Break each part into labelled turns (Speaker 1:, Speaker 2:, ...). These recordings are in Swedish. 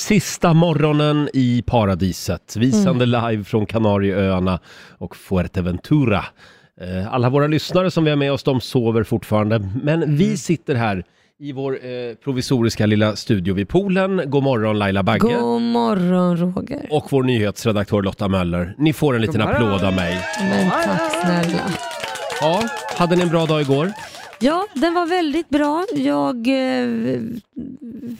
Speaker 1: Sista morgonen i paradiset. Vi
Speaker 2: Mm.
Speaker 1: sänder live från Kanarieöarna och Fuerteventura. Eh, Alla våra lyssnare som vi har med oss, de sover fortfarande. Men
Speaker 2: Mm.
Speaker 1: vi sitter här i vår eh, provisoriska lilla studio vid poolen. God morgon Laila Bagge.
Speaker 2: God morgon Roger.
Speaker 1: Och vår nyhetsredaktör Lotta Möller. Ni får en liten
Speaker 2: God morgon.
Speaker 1: applåd av mig.
Speaker 2: Men tack snälla.
Speaker 1: Ja, hade ni en bra dag igår?
Speaker 2: Ja, den var väldigt bra. Jag eh,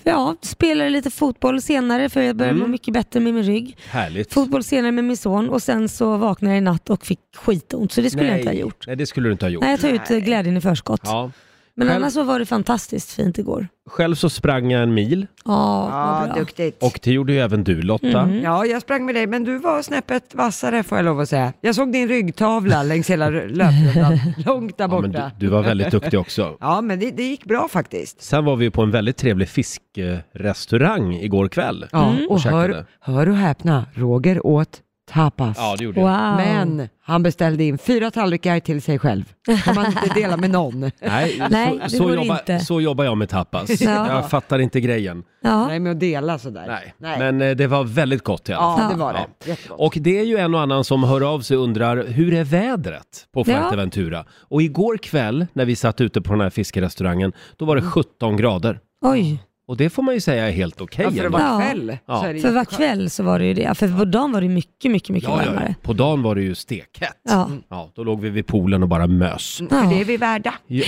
Speaker 2: ja, spelade lite fotboll senare för jag började
Speaker 3: Mm.
Speaker 2: må mycket bättre med min rygg.
Speaker 1: Härligt.
Speaker 2: Fotboll senare med min son och sen så vaknade jag i natt och fick skitont så det skulle jag inte ha gjort.
Speaker 1: Nej, det skulle du inte ha gjort.
Speaker 2: Nej, jag tar ut eh, glädjen i förskott.
Speaker 1: Ja.
Speaker 2: Men
Speaker 1: Själv-
Speaker 2: annars så var det fantastiskt fint igår.
Speaker 1: Själv så sprang jag en mil
Speaker 2: Ja, vad
Speaker 3: Ja,
Speaker 2: bra. Mhm.
Speaker 3: duktigt.
Speaker 1: och det gjorde ju även du Lotta.
Speaker 2: Mm.
Speaker 3: Ja, jag sprang med dig, men du var snäppet vassare får jag lov att säga. Jag såg din ryggtavla längs hela r- löprundan, långt där
Speaker 1: Ja,
Speaker 3: borta.
Speaker 1: men du, du var väldigt duktig också.
Speaker 3: Ja, men det, det gick bra faktiskt.
Speaker 1: Sen var vi ju på en väldigt trevlig fiskrestaurang igår kväll. Mm.
Speaker 3: Ja,
Speaker 2: Mm.
Speaker 3: och
Speaker 1: Ursäkta
Speaker 3: hör,
Speaker 1: det.
Speaker 3: hör och häpna, Roger åt tapas.
Speaker 1: det gjorde jag.
Speaker 2: Wow.
Speaker 3: Men han beställde in fyra tallrikar till sig själv. Kan man inte dela med någon?
Speaker 1: Nej,
Speaker 2: Nej,
Speaker 1: så,
Speaker 2: det
Speaker 1: så,
Speaker 2: går
Speaker 1: jobbar,
Speaker 2: inte.
Speaker 1: så jobbar jag med tapas.
Speaker 2: Ja.
Speaker 1: Jag fattar inte grejen.
Speaker 2: Ja.
Speaker 3: Nej, med att dela sådär.
Speaker 1: Nej. Men eh, det var väldigt gott i alla fall.
Speaker 3: Ja, det var det.
Speaker 1: Ja.
Speaker 3: Jättegott.
Speaker 1: Och det är ju en och annan som hör av sig och undrar hur är vädret på Fuerteventura? Och igår kväll när vi satt ute på den här fiskerestaurangen, då var det 17 grader.
Speaker 2: Mm. Oj,
Speaker 1: Och det får man ju säga är helt okej.
Speaker 3: Ja, för att
Speaker 1: ändå.
Speaker 2: Ja.
Speaker 3: vara kväll
Speaker 1: Ja.
Speaker 3: så är det
Speaker 2: för var
Speaker 3: jätteskönt.
Speaker 2: kväll så var det ju det. För på dagen var det mycket, mycket, mycket
Speaker 1: ja, ja,
Speaker 2: varmare.
Speaker 1: ja. På dagen var det ju stekhett. Mm. Ja.
Speaker 2: Ja.
Speaker 1: då låg vi vid poolen och bara mös.
Speaker 3: Mm, För det är vi värda.
Speaker 1: Ja,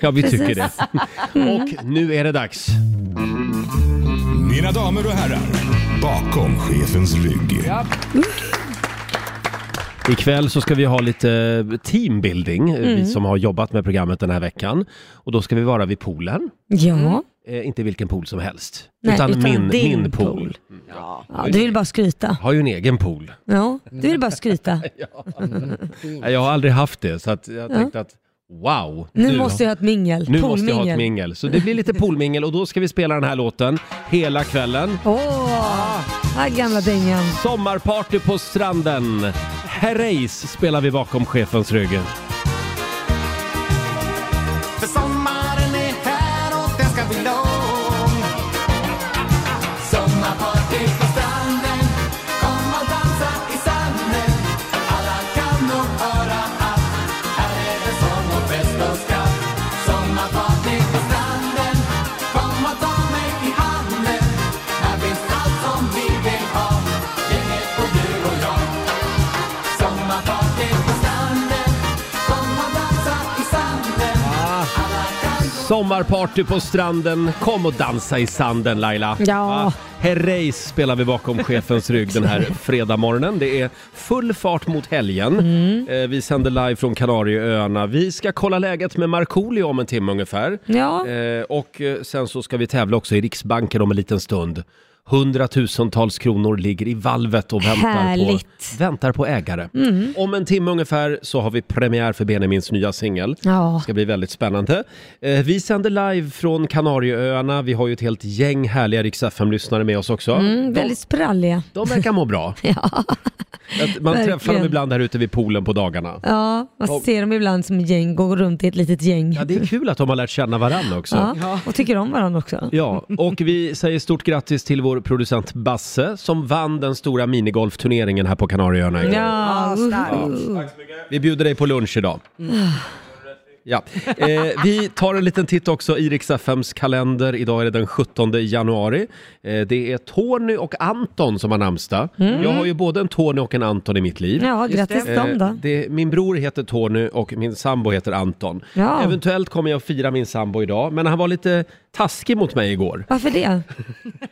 Speaker 1: ja vi
Speaker 2: Precis. Mm.
Speaker 1: tycker det. Och nu är det dags.
Speaker 4: Mina damer och herrar, bakom chefens rygg.
Speaker 1: Ikväll så ska vi ha lite teambuilding, eh,
Speaker 2: Mm.
Speaker 1: vi som har jobbat med programmet den här veckan. Och då ska vi vara vid poolen.
Speaker 2: Ja.
Speaker 1: Eh, inte vilken pool som helst,
Speaker 2: Nej,
Speaker 1: utan,
Speaker 2: utan
Speaker 1: min,
Speaker 2: din
Speaker 1: min pool. Mm.
Speaker 2: pool.
Speaker 3: Ja,
Speaker 2: ja. Du vill bara skryta.
Speaker 1: Har ju en egen pool.
Speaker 2: Ja, du vill bara skryta.
Speaker 1: Nej, Jag har aldrig haft det, så att jag tänkte att wow.
Speaker 2: Nu måste jag ha ett mingel.
Speaker 1: nu måste jag ha ett
Speaker 2: Poolmingel.
Speaker 1: mingel. Så det blir lite poolmingel och då ska vi spela den här låten hela kvällen.
Speaker 2: Åh, här gamla dängan.
Speaker 1: Sommarparty på stranden. Herreys spelar vi bakom chefens rygg.
Speaker 5: För sommaren är här och den ska bli lång Sommarparty på stranden Kom och dansa i sanden Alla kan nog höra att Här är det sång och fest och skratt Sommarparty på stranden Kom och ta mig i handen Här finns allt som vi vill ha Gänget och du och jag Sommarparty på stranden Kom och dansa i sanden
Speaker 6: Ah.
Speaker 1: Sommarparty på stranden. Kom och dansa i sanden Laila.
Speaker 2: Ja.
Speaker 1: Herreys spelar vi bakom chefens rygg den här fredagmorgonen. Det är full fart mot helgen.
Speaker 2: Mm.
Speaker 1: Eh, vi sänder live från Kanarieöarna. Vi ska kolla läget med Markoolio om en timme ungefär.
Speaker 2: Ja,
Speaker 1: Eh, och eh, sen så ska vi tävla också i Riksbanken om en liten stund. Hundratusentals kronor ligger i valvet och väntar på,
Speaker 2: Härligt.
Speaker 1: väntar på ägare.
Speaker 2: Mm.
Speaker 1: Om en timme ungefär så har vi premiär för Benjamins nya singel. Det
Speaker 2: ja.
Speaker 1: ska bli väldigt spännande. Eh, vi sänder live från Kanarieöarna. Vi har ju ett helt gäng härliga Rix lyssnare med oss också.
Speaker 2: Mm, väldigt spralliga.
Speaker 1: De verkar må bra.
Speaker 2: Ja,
Speaker 1: Att Man träffar dem
Speaker 2: verkligen.
Speaker 1: ibland här ute vid poolen på dagarna.
Speaker 2: ja man ser dem ibland som gäng, går runt i ett litet gäng.
Speaker 1: Ja, det är kul att de har lärt känna varandra också.
Speaker 2: Ja, och tycker om varandra också.
Speaker 1: Ja, och vi säger stort grattis till vår producent Basse som vann den stora minigolfturneringen här på Kanarieöarna igår.
Speaker 2: Ja, uhu.
Speaker 1: Vi bjuder dig på lunch idag. Ja. Eh, vi tar en liten titt också i Rix FMs kalender. Idag är det den 17 januari. Eh, det är Tony och Anton som har namnsdag. Jag har ju både en Tony och en Anton i mitt liv.
Speaker 2: Mm. ja grattis
Speaker 1: Eh,
Speaker 2: dem då.
Speaker 1: det, min bror heter Tony och min sambo heter Anton.
Speaker 2: Ja.
Speaker 1: Eventuellt kommer jag att fira min sambo idag, men han var lite taskig mot mig igår.
Speaker 2: Varför det?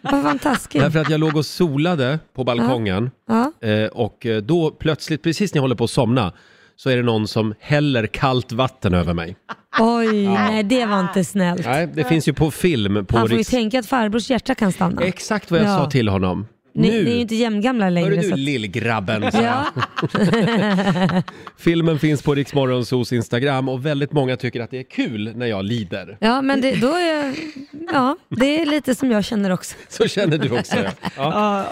Speaker 2: Varför var han taskig?
Speaker 1: Därför att jag låg och solade på balkongen
Speaker 2: Ja.
Speaker 1: eh, och eh, då plötsligt, precis när jag håller på att somna, så är det någon som häller kallt vatten över mig.
Speaker 2: Oj, nej det var inte snällt.
Speaker 1: Nej, det finns ju på film på
Speaker 2: Han får ju
Speaker 1: Riks...
Speaker 2: tänka att farbrors hjärta kan stanna.
Speaker 1: Exakt vad jag
Speaker 2: Ja.
Speaker 1: sa till honom.
Speaker 2: Ni,
Speaker 1: Nu!
Speaker 2: ni är ju inte jämngamla
Speaker 1: Hörru
Speaker 2: längre.
Speaker 1: du
Speaker 2: Så att...
Speaker 1: lillgrabben! sa jag.
Speaker 2: Ja,
Speaker 1: Filmen finns på Riksmorgonsos Instagram och väldigt många tycker att det är kul när jag lider.
Speaker 2: ja, men det, då är, ja, det är lite som jag känner också.
Speaker 1: Så känner du också ja. ja.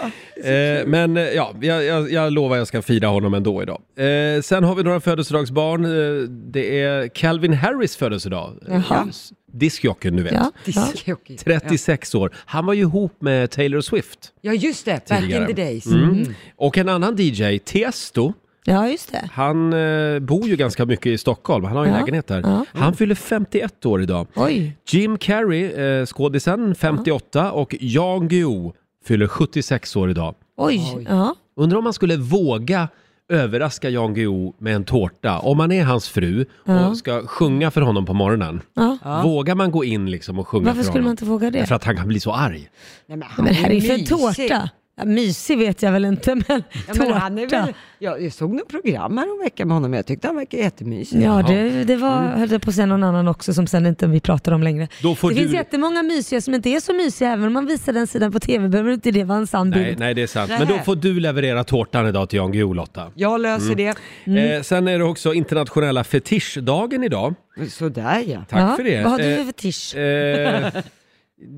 Speaker 1: Eh, men eh, ja, jag, jag, jag lovar jag ska fira honom ändå idag. Eh, sen har vi några födelsedagsbarn. Eh, det är Calvin Harris födelsedag.
Speaker 2: Jaha.
Speaker 1: S- diskjockeyn du vet.
Speaker 2: Ja, ja.
Speaker 3: Diskjockey.
Speaker 1: 36 år. Han var ju ihop med Taylor Swift
Speaker 3: Ja, just det. Back
Speaker 1: tidigare.
Speaker 3: in the days.
Speaker 1: Mm. Och en annan DJ, Tiesto,
Speaker 2: ja, just det.
Speaker 1: han eh, bor ju ganska mycket i Stockholm. Han har ju
Speaker 2: Ja,
Speaker 1: lägenhet där.
Speaker 2: ja.
Speaker 1: Han fyller 51 år idag.
Speaker 2: Oj.
Speaker 1: Jim Carrey, eh, skådisen, 58 och Jan Guillou fyller 76 år idag.
Speaker 2: Oj.
Speaker 3: Oj.
Speaker 2: Ja.
Speaker 1: Undrar om man skulle våga överraska Jan Guillou med en tårta. Om man är hans fru
Speaker 2: Ja.
Speaker 1: och ska sjunga för honom på morgonen.
Speaker 2: Ja.
Speaker 1: Vågar man gå in liksom och sjunga
Speaker 2: Varför
Speaker 1: för
Speaker 2: skulle man
Speaker 1: honom?
Speaker 2: inte våga det?
Speaker 1: Därför att han kan bli så arg.
Speaker 3: Nej, men han
Speaker 2: Men det här är ju för en
Speaker 3: mysig.
Speaker 2: tårta. Ja, mysig vet jag väl inte, men
Speaker 3: Ja, men
Speaker 2: tårta.
Speaker 3: han är väl, ja, jag såg något program veckan med honom jag tyckte han verkade jättemysig.
Speaker 2: Ja, det, det var, höll jag på att säga någon annan också som sen inte vi pratar om längre.
Speaker 1: Mm. Då får
Speaker 2: det
Speaker 1: du-
Speaker 2: finns jättemånga mysiga som inte är så mysiga, även om man visar den sidan på tv behöver inte det vara en sann
Speaker 1: Nej,
Speaker 2: bild.
Speaker 1: nej, det är sant.
Speaker 3: Nej.
Speaker 1: Men då får du leverera tårtan idag till Jan Guillou Lotta.
Speaker 3: Jag löser
Speaker 2: Mm.
Speaker 1: Eh, sen är det också internationella fetischdagen idag.
Speaker 3: det. Sådär Mm. ja.
Speaker 1: Tack
Speaker 2: Ja,
Speaker 1: för det.
Speaker 2: Vad har du
Speaker 1: Eh,
Speaker 2: för fetisch?
Speaker 1: eh,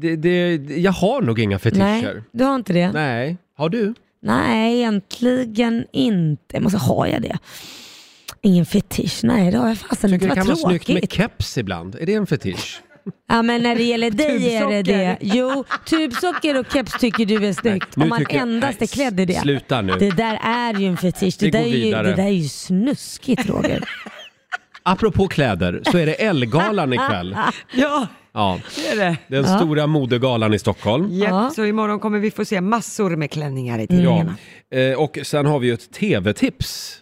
Speaker 1: det, det, jag har nog inga fetischer.
Speaker 2: Nej,
Speaker 1: Nej.
Speaker 2: du har inte det? Nej,
Speaker 1: Har du?
Speaker 2: egentligen inte. Men så har jag det. Ingen fetisch, nej det har jag fasen inte.
Speaker 1: Tycker det kan
Speaker 2: Vad
Speaker 1: vara snyggt med
Speaker 2: tråkigt.
Speaker 1: keps ibland. Är det en fetisch?
Speaker 2: Ja men när det gäller dig är det
Speaker 3: Tubsocker.
Speaker 2: det. Jo, tubsocker och keps tycker du är snyggt.
Speaker 1: nu
Speaker 2: Om man
Speaker 1: tycker jag-
Speaker 2: endast
Speaker 1: Nej,
Speaker 2: är klädd i det.
Speaker 1: sluta nu.
Speaker 2: Det där är ju en fetisch. Det,
Speaker 1: Vi går
Speaker 2: där, är ju,
Speaker 1: vidare.
Speaker 2: det där är ju snuskigt Roger.
Speaker 1: Apropå kläder så är det Ellegalan ikväll.
Speaker 3: Ja,
Speaker 1: Ja,
Speaker 3: det är det.
Speaker 1: den stora modegalan i Stockholm.
Speaker 3: Japp,
Speaker 2: Ja. Mm.
Speaker 3: Så imorgon kommer vi få se massor med klänningar i
Speaker 1: Ja.
Speaker 3: tidningarna.
Speaker 1: Eh, Och sen har vi ju ett tv-tips.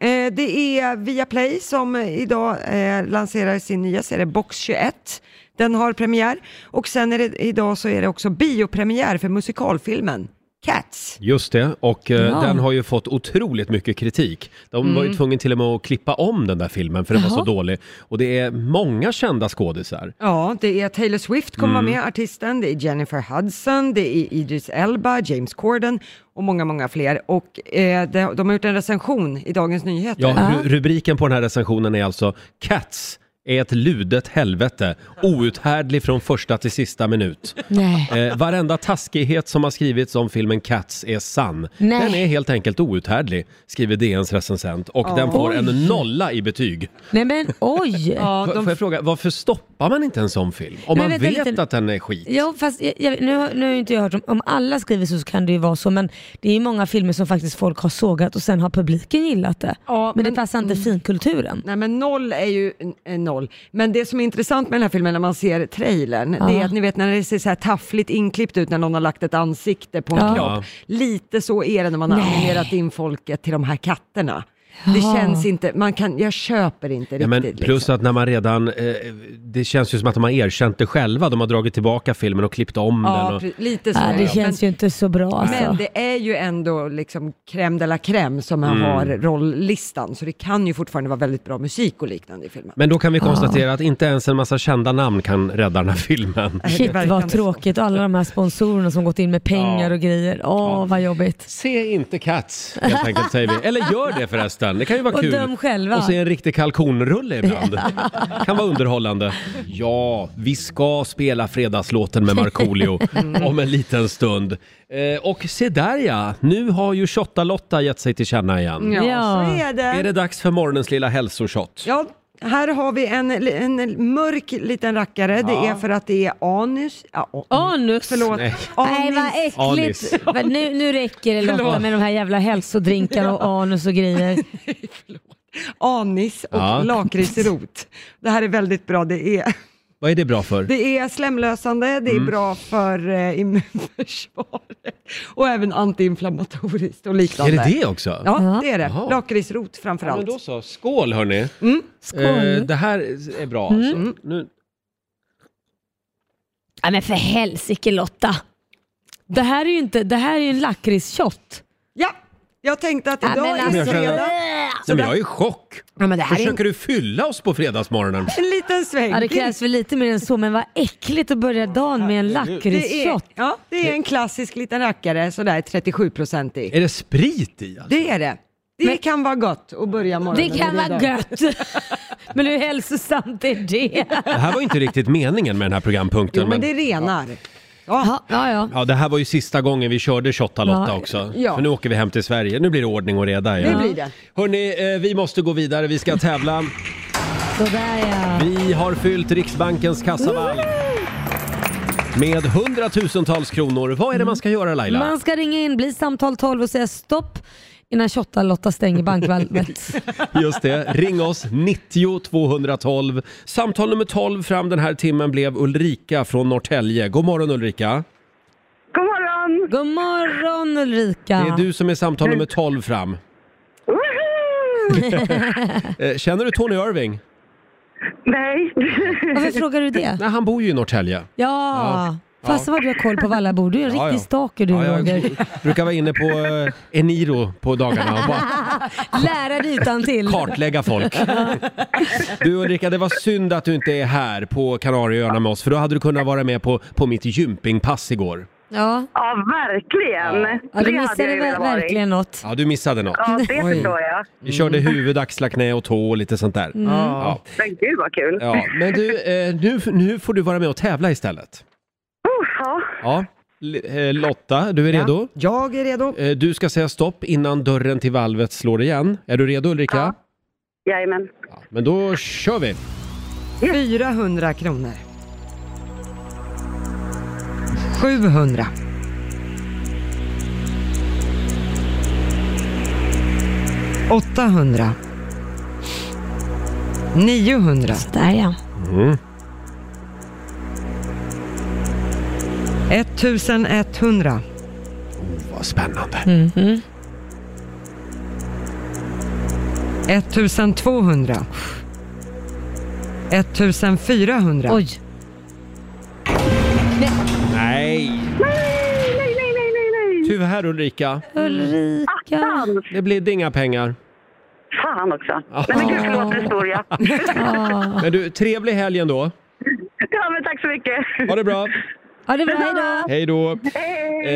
Speaker 3: Eh, det är Viaplay som eh, idag eh, lanserar sin nya serie Box 21. Den har premiär och sen är det, idag så är det också biopremiär för musikalfilmen Cats.
Speaker 1: Just det, och eh,
Speaker 2: Ja. Mm.
Speaker 1: den har ju fått otroligt mycket kritik. De var ju tvungna till och med att klippa om den där filmen för den var
Speaker 2: Jaha.
Speaker 1: så dålig. Och det är många kända skådisar.
Speaker 3: Ja, det är Taylor Swift kommer
Speaker 1: Mm.
Speaker 3: vara med, artisten, det är Jennifer Hudson, det är Idris Elba, James Corden och många, många fler. Och eh, de, de har gjort en recension i Dagens Nyheter.
Speaker 1: Ja, ru- rubriken på den här recensionen är alltså Cats är ett ludet helvete, outhärdlig från första till sista minut.
Speaker 2: Nej.
Speaker 1: Eh, varenda taskighet som har skrivits om filmen Cats är sann.
Speaker 2: Nej.
Speaker 1: Den är helt enkelt outhärdlig, skriver DNs recensent. Och den får en nolla i betyg.
Speaker 2: Nej men oj.
Speaker 3: Ja,
Speaker 1: F-
Speaker 3: de,
Speaker 1: Får jag fråga, varför stoppar man inte en sån film? Om
Speaker 2: Men
Speaker 1: man
Speaker 2: vänta
Speaker 1: vet
Speaker 2: lite.
Speaker 1: att den är skit.
Speaker 2: Ja, fast jag, jag, nu, har- nu har ju inte jag hört om, om alla skriver så kan det ju vara så men det är ju många filmer som faktiskt folk har sågat och sen har publiken gillat det.
Speaker 3: Ja, Mm.
Speaker 2: men,
Speaker 3: men-
Speaker 2: det passar inte finkulturen.
Speaker 3: nej men noll är ju en- en noll. Men det som är intressant med den här filmen när man ser trailern, det är att ni vet när det ser så här taffligt inklippt ut när någon har lagt ett ansikte på en
Speaker 2: Ja.
Speaker 1: Ja.
Speaker 3: kropp. Lite så är det när man har
Speaker 2: Nej.
Speaker 3: animerat in folket till de här katterna. Det
Speaker 2: Ja.
Speaker 3: känns inte, man kan, jag köper inte
Speaker 1: Ja,
Speaker 3: riktigt.
Speaker 1: men plus
Speaker 3: liksom.
Speaker 1: att när man redan, eh, det känns ju som att de har erkänt det själva. De har dragit tillbaka filmen och klippt om den.
Speaker 3: Ja,
Speaker 1: Och,
Speaker 3: pre- lite så.
Speaker 2: Ja, det
Speaker 3: ja.
Speaker 2: känns ju inte så bra alltså.
Speaker 3: Men det är ju ändå liksom crème de la crème som
Speaker 1: Mm.
Speaker 3: har rolllistan, så det kan ju fortfarande vara väldigt bra musik och liknande i filmen.
Speaker 1: men då kan vi konstatera att inte ens en massa kända namn kan rädda den här filmen.
Speaker 3: Nej, det
Speaker 2: Shit
Speaker 3: verkar
Speaker 2: vad
Speaker 3: inte så.
Speaker 2: tråkigt och alla de här sponsorerna som gått in med pengar
Speaker 1: Ja.
Speaker 2: och grejer. Åh vad jobbigt.
Speaker 1: Se inte Cats, helt enkelt säger vi. Eller gör det förresten, det kan ju vara
Speaker 2: Och
Speaker 1: kul.
Speaker 2: döm själva.
Speaker 1: Och se en riktig kalkonrulle ibland. kan vara underhållande. Ja, vi ska spela fredagslåten med Markoolio om en liten stund. Eh, och se där ja, nu har ju Shotta-Lotta gett sig till känna igen.
Speaker 3: Ja,
Speaker 2: Ja.
Speaker 3: så är det.
Speaker 1: Är det dags för morgonens lilla hälsoshot?
Speaker 3: Ja, här har vi en, en mörk liten rackare. Det är för att det är anus. Ja, o-
Speaker 2: Anus!
Speaker 3: Förlåt.
Speaker 1: Nej.
Speaker 2: Nej vad
Speaker 3: Anis.
Speaker 1: Anis.
Speaker 2: äckligt. Men Nu, nu räcker det Lotta med de här jävla hälsodrinkarna och anus och grejer.
Speaker 3: Anis och
Speaker 1: Ja.
Speaker 3: lakritsrot. Det här är väldigt bra. Det är,
Speaker 1: Vad är det bra för?
Speaker 3: det är slemlösande, det är
Speaker 1: Mm.
Speaker 3: bra för eh, immunförsvaret och även antiinflammatoriskt och
Speaker 1: Är
Speaker 3: liknande.
Speaker 1: det det också?
Speaker 3: Ja, det är det.
Speaker 1: Jaha.
Speaker 3: Lakritsrot framför
Speaker 1: Ja, men
Speaker 3: allt. Mm.
Speaker 1: då så. Skål hörni!
Speaker 2: Skål. Mm.
Speaker 1: Eh, det här är bra alltså. Nu,
Speaker 2: Ja, men för helsike Lotta. Det här är ju inte, det här är ju en lakritsshot.
Speaker 3: Ja, jag tänkte att
Speaker 2: Ja,
Speaker 3: idag
Speaker 2: men
Speaker 3: är
Speaker 2: alltså-
Speaker 3: fredag.
Speaker 1: Nej, men jag är i chock!
Speaker 3: Ja, men det här är en,
Speaker 1: Försöker du fylla oss på fredagsmorgonen?
Speaker 3: en liten sväng.
Speaker 2: Ja, det krävs väl lite mer än så, men vad äckligt att börja dagen med en
Speaker 3: Det är,
Speaker 2: lakritsshot.
Speaker 3: ja, det är en klassisk liten rackare, sådär 37-procentig.
Speaker 1: Är det sprit i? Alltså?
Speaker 3: Det är det. Det kan vara gott att börja
Speaker 2: Det
Speaker 3: morgonen
Speaker 2: kan
Speaker 3: med
Speaker 2: vara
Speaker 3: idag.
Speaker 2: gött. Men hur hälsosamt är det?
Speaker 1: Det här var ju inte riktigt meningen med den här programpunkten.
Speaker 3: Jo, men det renar. Ja.
Speaker 2: Ja, ja. ja.
Speaker 1: Ja, det här var ju sista gången vi körde Shotta-Lotta
Speaker 2: Ja.
Speaker 1: också.
Speaker 3: Ja.
Speaker 1: För nu åker vi hem till Sverige. Nu blir det ordning och reda igen. eh,
Speaker 3: Det blir det.
Speaker 1: Hörni, vi måste gå vidare. Vi ska tävla.
Speaker 2: Sådär ja.
Speaker 1: Vi har fyllt Riksbankens kassavalv med hundratusentals kronor. Vad är det man ska göra Laila?
Speaker 2: Man ska ringa in, bli samtal 12 och säga stopp innan 28-Lotta stänger bankvalvet.
Speaker 1: Just det, ring oss 90 212. Samtal nummer 12 fram den här timmen blev Ulrika från Norrtälje. God morgon Ulrika.
Speaker 6: God morgon!
Speaker 2: God morgon Ulrika.
Speaker 1: Det är du som är samtal nummer 12 fram.
Speaker 6: Woohoo!
Speaker 1: Eh, Känner du Tony Irving?
Speaker 6: Nej.
Speaker 2: Varför frågar du det?
Speaker 1: Nej, han bor ju i Norrtälje.
Speaker 2: Ja. Fast vad du har koll på vad alla bor. Du är en
Speaker 1: Ja,
Speaker 2: riktig
Speaker 1: ja.
Speaker 2: stalker du
Speaker 1: Ja, jag
Speaker 2: Roger.
Speaker 1: brukar vara inne på eh, Eniro på dagarna och bara
Speaker 2: Lära dig utan till.
Speaker 1: kartlägga folk. Du Ulrika, det var synd att du inte är här på Kanarieöarna med oss för då hade du kunnat vara med på, på mitt gympingpass igår.
Speaker 2: Ja.
Speaker 6: Ja, verkligen.
Speaker 2: Ja, du
Speaker 6: hade jag
Speaker 2: missade
Speaker 6: ju
Speaker 2: ver-
Speaker 6: velat vara i.
Speaker 2: verkligen något. Mm.
Speaker 1: Ja, du missade något.
Speaker 6: Ja, det förstår jag.
Speaker 1: Vi körde huvud, axlar, knä och tå och lite sånt där. Ja.
Speaker 6: Men gud vad kul. Ja.
Speaker 1: Ja, men du, eh, nu, nu får du vara med och tävla istället.
Speaker 6: ja.
Speaker 1: Ja. L- eh, Lotta, du är redo?
Speaker 3: Jag är redo.
Speaker 1: Eh, Du ska säga stopp innan dörren till valvet slår igen. Är du redo Ulrika?
Speaker 6: Ja. Jajamän.
Speaker 1: Ja, Men då kör vi!
Speaker 3: 400 kronor. 700. 800. 900.
Speaker 2: Där ja.
Speaker 3: 1100.
Speaker 1: Oh, Vad spännande!
Speaker 2: Mhm.
Speaker 3: 1200. 1400.
Speaker 2: Oj.
Speaker 1: Nej!
Speaker 6: Nej, nej, nej, nej, nej, nej.
Speaker 1: Tyvärr Ulrika,
Speaker 2: Ulrika.
Speaker 6: Fan,
Speaker 1: det blir inga pengar.
Speaker 6: fan också. Nej, men gud, förlåt, det stod jag.
Speaker 1: Men du, trevlig helg ändå.
Speaker 6: Ja, men tack så mycket.
Speaker 1: Ha det bra!
Speaker 2: Ha det bra, hejdå.
Speaker 1: Hej då! Eh,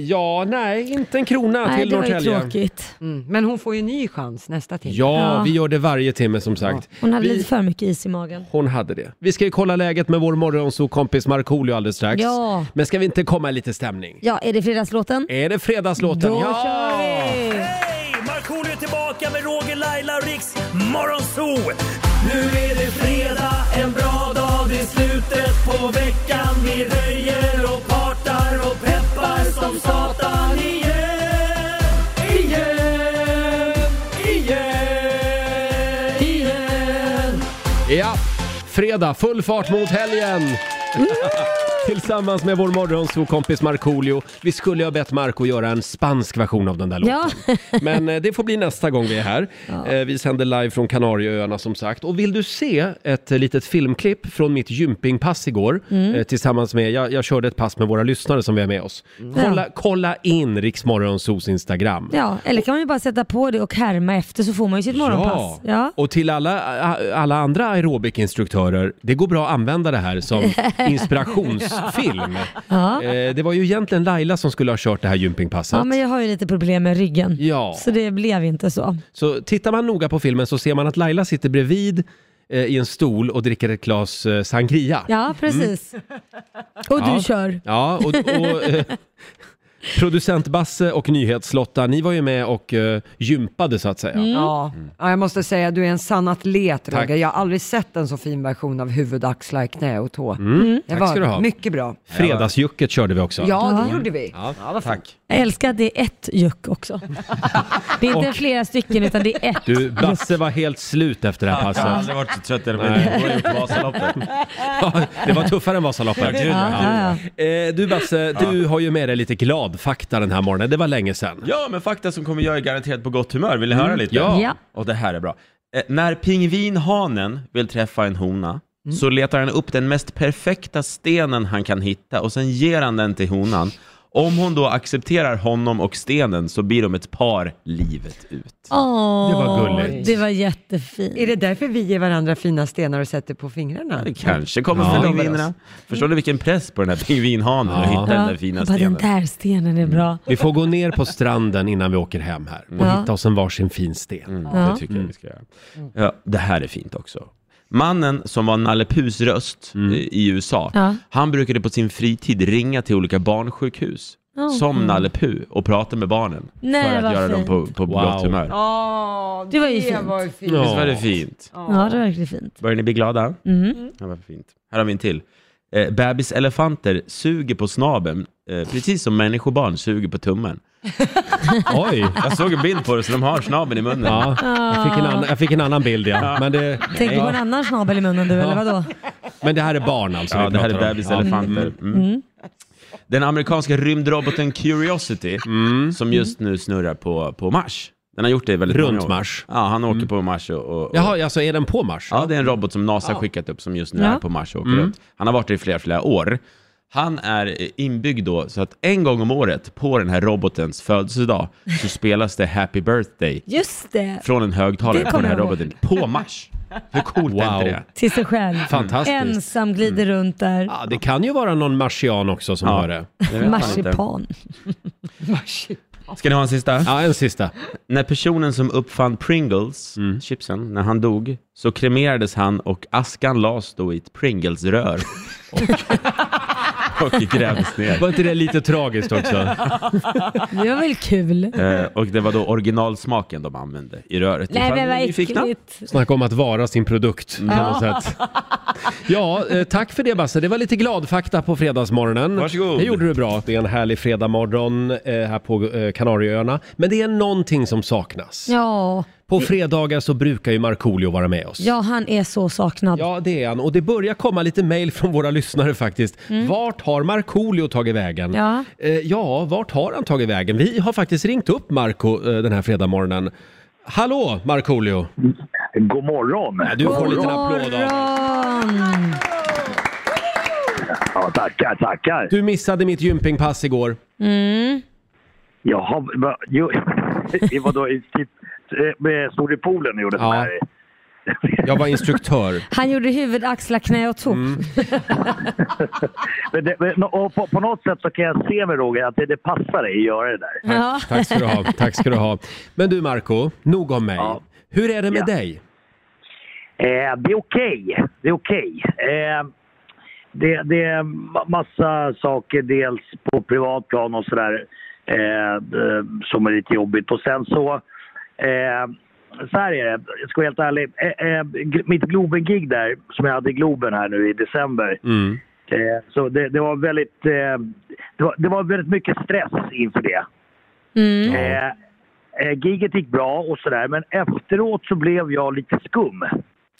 Speaker 1: ja, nej, inte en krona
Speaker 2: Nej,
Speaker 1: till
Speaker 2: det var ju
Speaker 1: Norrtälje.
Speaker 2: tråkigt.
Speaker 3: Mm. Men hon får ju ny chans nästa timme.
Speaker 1: Ja,
Speaker 2: Ja.
Speaker 1: vi gör det varje timme som sagt.
Speaker 2: Hon hade
Speaker 1: Vi-
Speaker 2: lite för mycket is i magen.
Speaker 1: Hon hade det. Vi ska ju kolla läget med vår morgonsokompis Markoolio alldeles strax.
Speaker 2: Ja.
Speaker 1: Men ska vi inte komma i lite stämning?
Speaker 2: Ja, är det fredagslåten?
Speaker 1: Är det fredagslåten?
Speaker 2: Då
Speaker 1: ja!
Speaker 2: kör vi!
Speaker 7: Hej! Markoolio är tillbaka med Roger, Laila och Riks Morgonzoo! Nu är det fredag, en bra dag, det är slutet på veckan. Vi röjer och partar och peppar som satan igen. Igen, igen, igen.
Speaker 1: Ja, fredag, full fart mot helgen! Tillsammans med vår morgonsokompis Markoolio. Vi skulle ju ha bett Marco göra en spansk version av den där låten.
Speaker 2: Ja.
Speaker 1: Men eh, det får bli nästa gång vi är här. Eh, Vi sänder live från Kanarieöarna som sagt. Och vill du se ett eh, litet filmklipp från mitt gympingpass igår eh, tillsammans med, jag, jag körde ett pass med våra lyssnare som vi har med oss. Kolla, kolla in Riksmorgonsos Instagram.
Speaker 2: Ja, eller kan man ju bara sätta på det och härma efter så får man ju sitt morgonpass. Ja.
Speaker 1: och till alla, alla andra aerobikinstruktörer, det går bra att använda det här som inspirationsfilm. Eh, Det var ju egentligen Laila som skulle ha kört det här gympingpasset.
Speaker 2: ja, men jag har ju lite problem med ryggen.
Speaker 1: Ja.
Speaker 2: Så det blev inte så.
Speaker 1: Så tittar man noga på filmen så ser man att Laila sitter bredvid eh, i en stol och dricker ett glas eh, sangria.
Speaker 2: Ja, precis. Och du
Speaker 1: Ja.
Speaker 2: kör.
Speaker 1: Ja, och, och eh, producent Basse och nyhetslotta, ni var ju med och eh, gympade så att säga.
Speaker 2: Mm.
Speaker 3: Ja. ja, jag måste säga du är en sann atlet
Speaker 1: Mm. Tack.
Speaker 3: Roger. Jag har aldrig sett en så fin version av huvud, axlar, knä och tå.
Speaker 8: Mm.
Speaker 2: Mm.
Speaker 3: Det
Speaker 1: Mm. Tack
Speaker 3: var
Speaker 1: ska du ha.
Speaker 3: mycket bra.
Speaker 1: Fredagsjucket körde vi också.
Speaker 3: Ja, det gjorde vi.
Speaker 1: Ja, tack.
Speaker 2: Jag älskar att det är ett juck också. Det är inte flera stycken utan det är ett.
Speaker 1: Du, Basse var helt slut efter det här
Speaker 8: Jag har
Speaker 1: passet.
Speaker 8: aldrig varit så trött i hela mitt liv. Jag har gjort Vasaloppet.
Speaker 1: Ja, det var tuffare än Vasaloppet.
Speaker 8: Ja, gud, ja,
Speaker 1: Ja. Eh, du Basse, du har ju med dig lite glad fakta den här morgonen. Det var länge sedan.
Speaker 8: Ja, men fakta som kommer göra er garanterat på gott humör. Vill ni höra lite?
Speaker 1: Mm, Ja.
Speaker 2: Ja.
Speaker 8: Och det här är bra. Eh, när pingvinhanen vill träffa en hona
Speaker 2: Mm.
Speaker 8: så letar han upp den mest perfekta stenen han kan hitta och sen ger han den till honan. Om hon då accepterar honom och stenen så blir de ett par livet ut.
Speaker 2: Åh,
Speaker 1: Det var gulligt.
Speaker 2: Det var jättefint.
Speaker 3: Är det därför vi ger varandra fina stenar och sätter på fingrarna?
Speaker 8: Det kanske kommer
Speaker 1: Ja.
Speaker 8: från pingvinerna. Förstår du vilken press på den här pingvinhanen att
Speaker 1: Ja.
Speaker 8: hitta den där fina
Speaker 2: jag bara,
Speaker 8: stenen?
Speaker 2: den där stenen är bra.
Speaker 1: Vi får gå ner på stranden innan vi åker hem här och
Speaker 2: Ja.
Speaker 1: hitta oss en varsin fin sten.
Speaker 2: Ja.
Speaker 8: Mm, Det tycker jag vi ska göra. Ja, det här är fint också. Mannen som var Nalle Puhs
Speaker 1: Mm.
Speaker 8: röst eh, i- i USA,
Speaker 2: Ja.
Speaker 8: han brukade på sin fritid ringa till olika barnsjukhus
Speaker 2: Ja.
Speaker 8: som Nalle Puh och pratar med barnen
Speaker 2: mm. Nej,
Speaker 8: för
Speaker 2: vad
Speaker 8: att göra
Speaker 2: fint.
Speaker 8: dem på, på
Speaker 1: Wow.
Speaker 8: gott humör.
Speaker 3: Ja,
Speaker 2: Det var ju fint.
Speaker 3: var ju fint.
Speaker 1: Ja.
Speaker 8: Visst var det fint?
Speaker 2: Ja, det var verkligen fint.
Speaker 8: Börjar ni bli glada?
Speaker 2: Mm.
Speaker 8: Ja, vad fint. Här har vi en till. Eh, bebiselefanter suger på snabeln, eh, precis som människobarn suger på tummen.
Speaker 1: Oj!
Speaker 8: Jag såg en bild på det, så de har snabeln i munnen.
Speaker 1: Ja, jag, fick en annan, jag fick en annan bild ja.
Speaker 8: Ja.
Speaker 1: Men det,
Speaker 2: Tänker på en annan snabel i munnen du, eller vadå?
Speaker 1: men det här är barn alltså
Speaker 8: Ja,
Speaker 1: vi
Speaker 8: det här är
Speaker 1: pratar om.
Speaker 8: bebiselefanter. Mm. Den amerikanska rymdroboten Curiosity,
Speaker 1: Mm.
Speaker 8: som just nu snurrar på, på Mars. Den har gjort det i väldigt
Speaker 1: Runt
Speaker 8: många år.
Speaker 1: Mars. Mm.
Speaker 8: Ja, han åker på Mars och... och, och
Speaker 1: Jaha, alltså är den på Mars? Ah. Mm.
Speaker 8: Ja, det är en robot som NASA skickat upp som just nu
Speaker 2: Ja.
Speaker 8: är på Mars och åker runt. Han har varit där i flera, flera år. Han är eh, inbyggd då, så att en gång om året på den här robotens födelsedag så spelas det Happy Birthday
Speaker 2: Just det!
Speaker 8: från en högtalare
Speaker 2: Det
Speaker 8: på den
Speaker 2: kommer
Speaker 8: här
Speaker 2: jag ihåg.
Speaker 8: roboten på Mars. Hur coolt är inte
Speaker 1: Wow.
Speaker 8: det?
Speaker 2: Till sig själv.
Speaker 1: Fantastiskt. Mm.
Speaker 2: Ensam glider runt där.
Speaker 1: Ja, det kan ju vara någon marsian också som
Speaker 8: Ja.
Speaker 1: har det.
Speaker 8: Det vet man inte.
Speaker 2: Marsipan.
Speaker 8: Ska ni ha en sista?
Speaker 1: Ja, en sista. Mm.
Speaker 8: När personen som uppfann Pringles, chipsen, när han dog, så kremerades han och askan lades då i ett Pringles-rör. Och, och grävdes ner.
Speaker 1: Var inte det lite tragiskt också?
Speaker 2: Det var väl kul?
Speaker 8: Eh, och det var då originalsmaken de använde i röret.
Speaker 2: Nej
Speaker 8: Ifall
Speaker 2: men vad
Speaker 8: ni är nyfikna.
Speaker 2: äckligt.
Speaker 1: Snacka om att vara sin produkt
Speaker 8: Mm.
Speaker 1: på något sätt. Ja, eh, tack för det Basse. Det var lite gladfakta på fredagsmorgonen.
Speaker 8: Varsågod.
Speaker 1: Det gjorde du bra. Det är en härlig fredagmorgon eh, här på eh, Kanarieöarna. Men det är någonting som saknas.
Speaker 2: Ja.
Speaker 1: På fredagar så brukar ju Markoolio vara med oss.
Speaker 2: ja, han är så saknad.
Speaker 1: Ja, det är han. Och det börjar komma lite mejl från våra lyssnare faktiskt. Vart har Markoolio tagit vägen?
Speaker 2: Ja.
Speaker 1: Eh, ja, vart har han tagit vägen? Vi har faktiskt ringt upp Marco eh, den här fredagmorgonen. Hallå Markoolio!
Speaker 9: God morgon!
Speaker 1: Du får en
Speaker 2: God
Speaker 1: liten applåd av oss.
Speaker 2: morgon!
Speaker 9: Ja, tackar, tackar!
Speaker 1: Du missade mitt gympingpass igår.
Speaker 2: Mm.
Speaker 9: Jaha, va, jo, i vadå, i, i, eh, stod i poolen och gjorde
Speaker 1: Ja.
Speaker 9: sån här?
Speaker 1: Jag var instruktör.
Speaker 2: Han gjorde huvud, axlar, knä och tå.
Speaker 1: Mm.
Speaker 9: Men det, men, och på, på något sätt så kan jag se med Roger att det, det passar dig att göra det där.
Speaker 2: Ja.
Speaker 1: Tack ska du ha. Tack ska du ha. Men du Marco, nog om mig.
Speaker 9: Ja.
Speaker 1: Hur är det med
Speaker 9: Ja.
Speaker 1: dig?
Speaker 9: Eh, det är okej. Det är okej. Eh, det, det är ma- massa saker, dels på privat plan och sådär, eh, eh, som är lite jobbigt. Och sen så, eh, så här är det, jag ska vara helt ärlig. Eh, eh, gl- mitt Globen-gig där, som jag hade i Globen här nu i december,
Speaker 1: Mm.
Speaker 9: eh, så det, det, var väldigt, eh, det, var, det var väldigt mycket stress inför det.
Speaker 2: Mm.
Speaker 9: Eh, eh, giget gick bra och sådär, men efteråt så blev jag lite skum.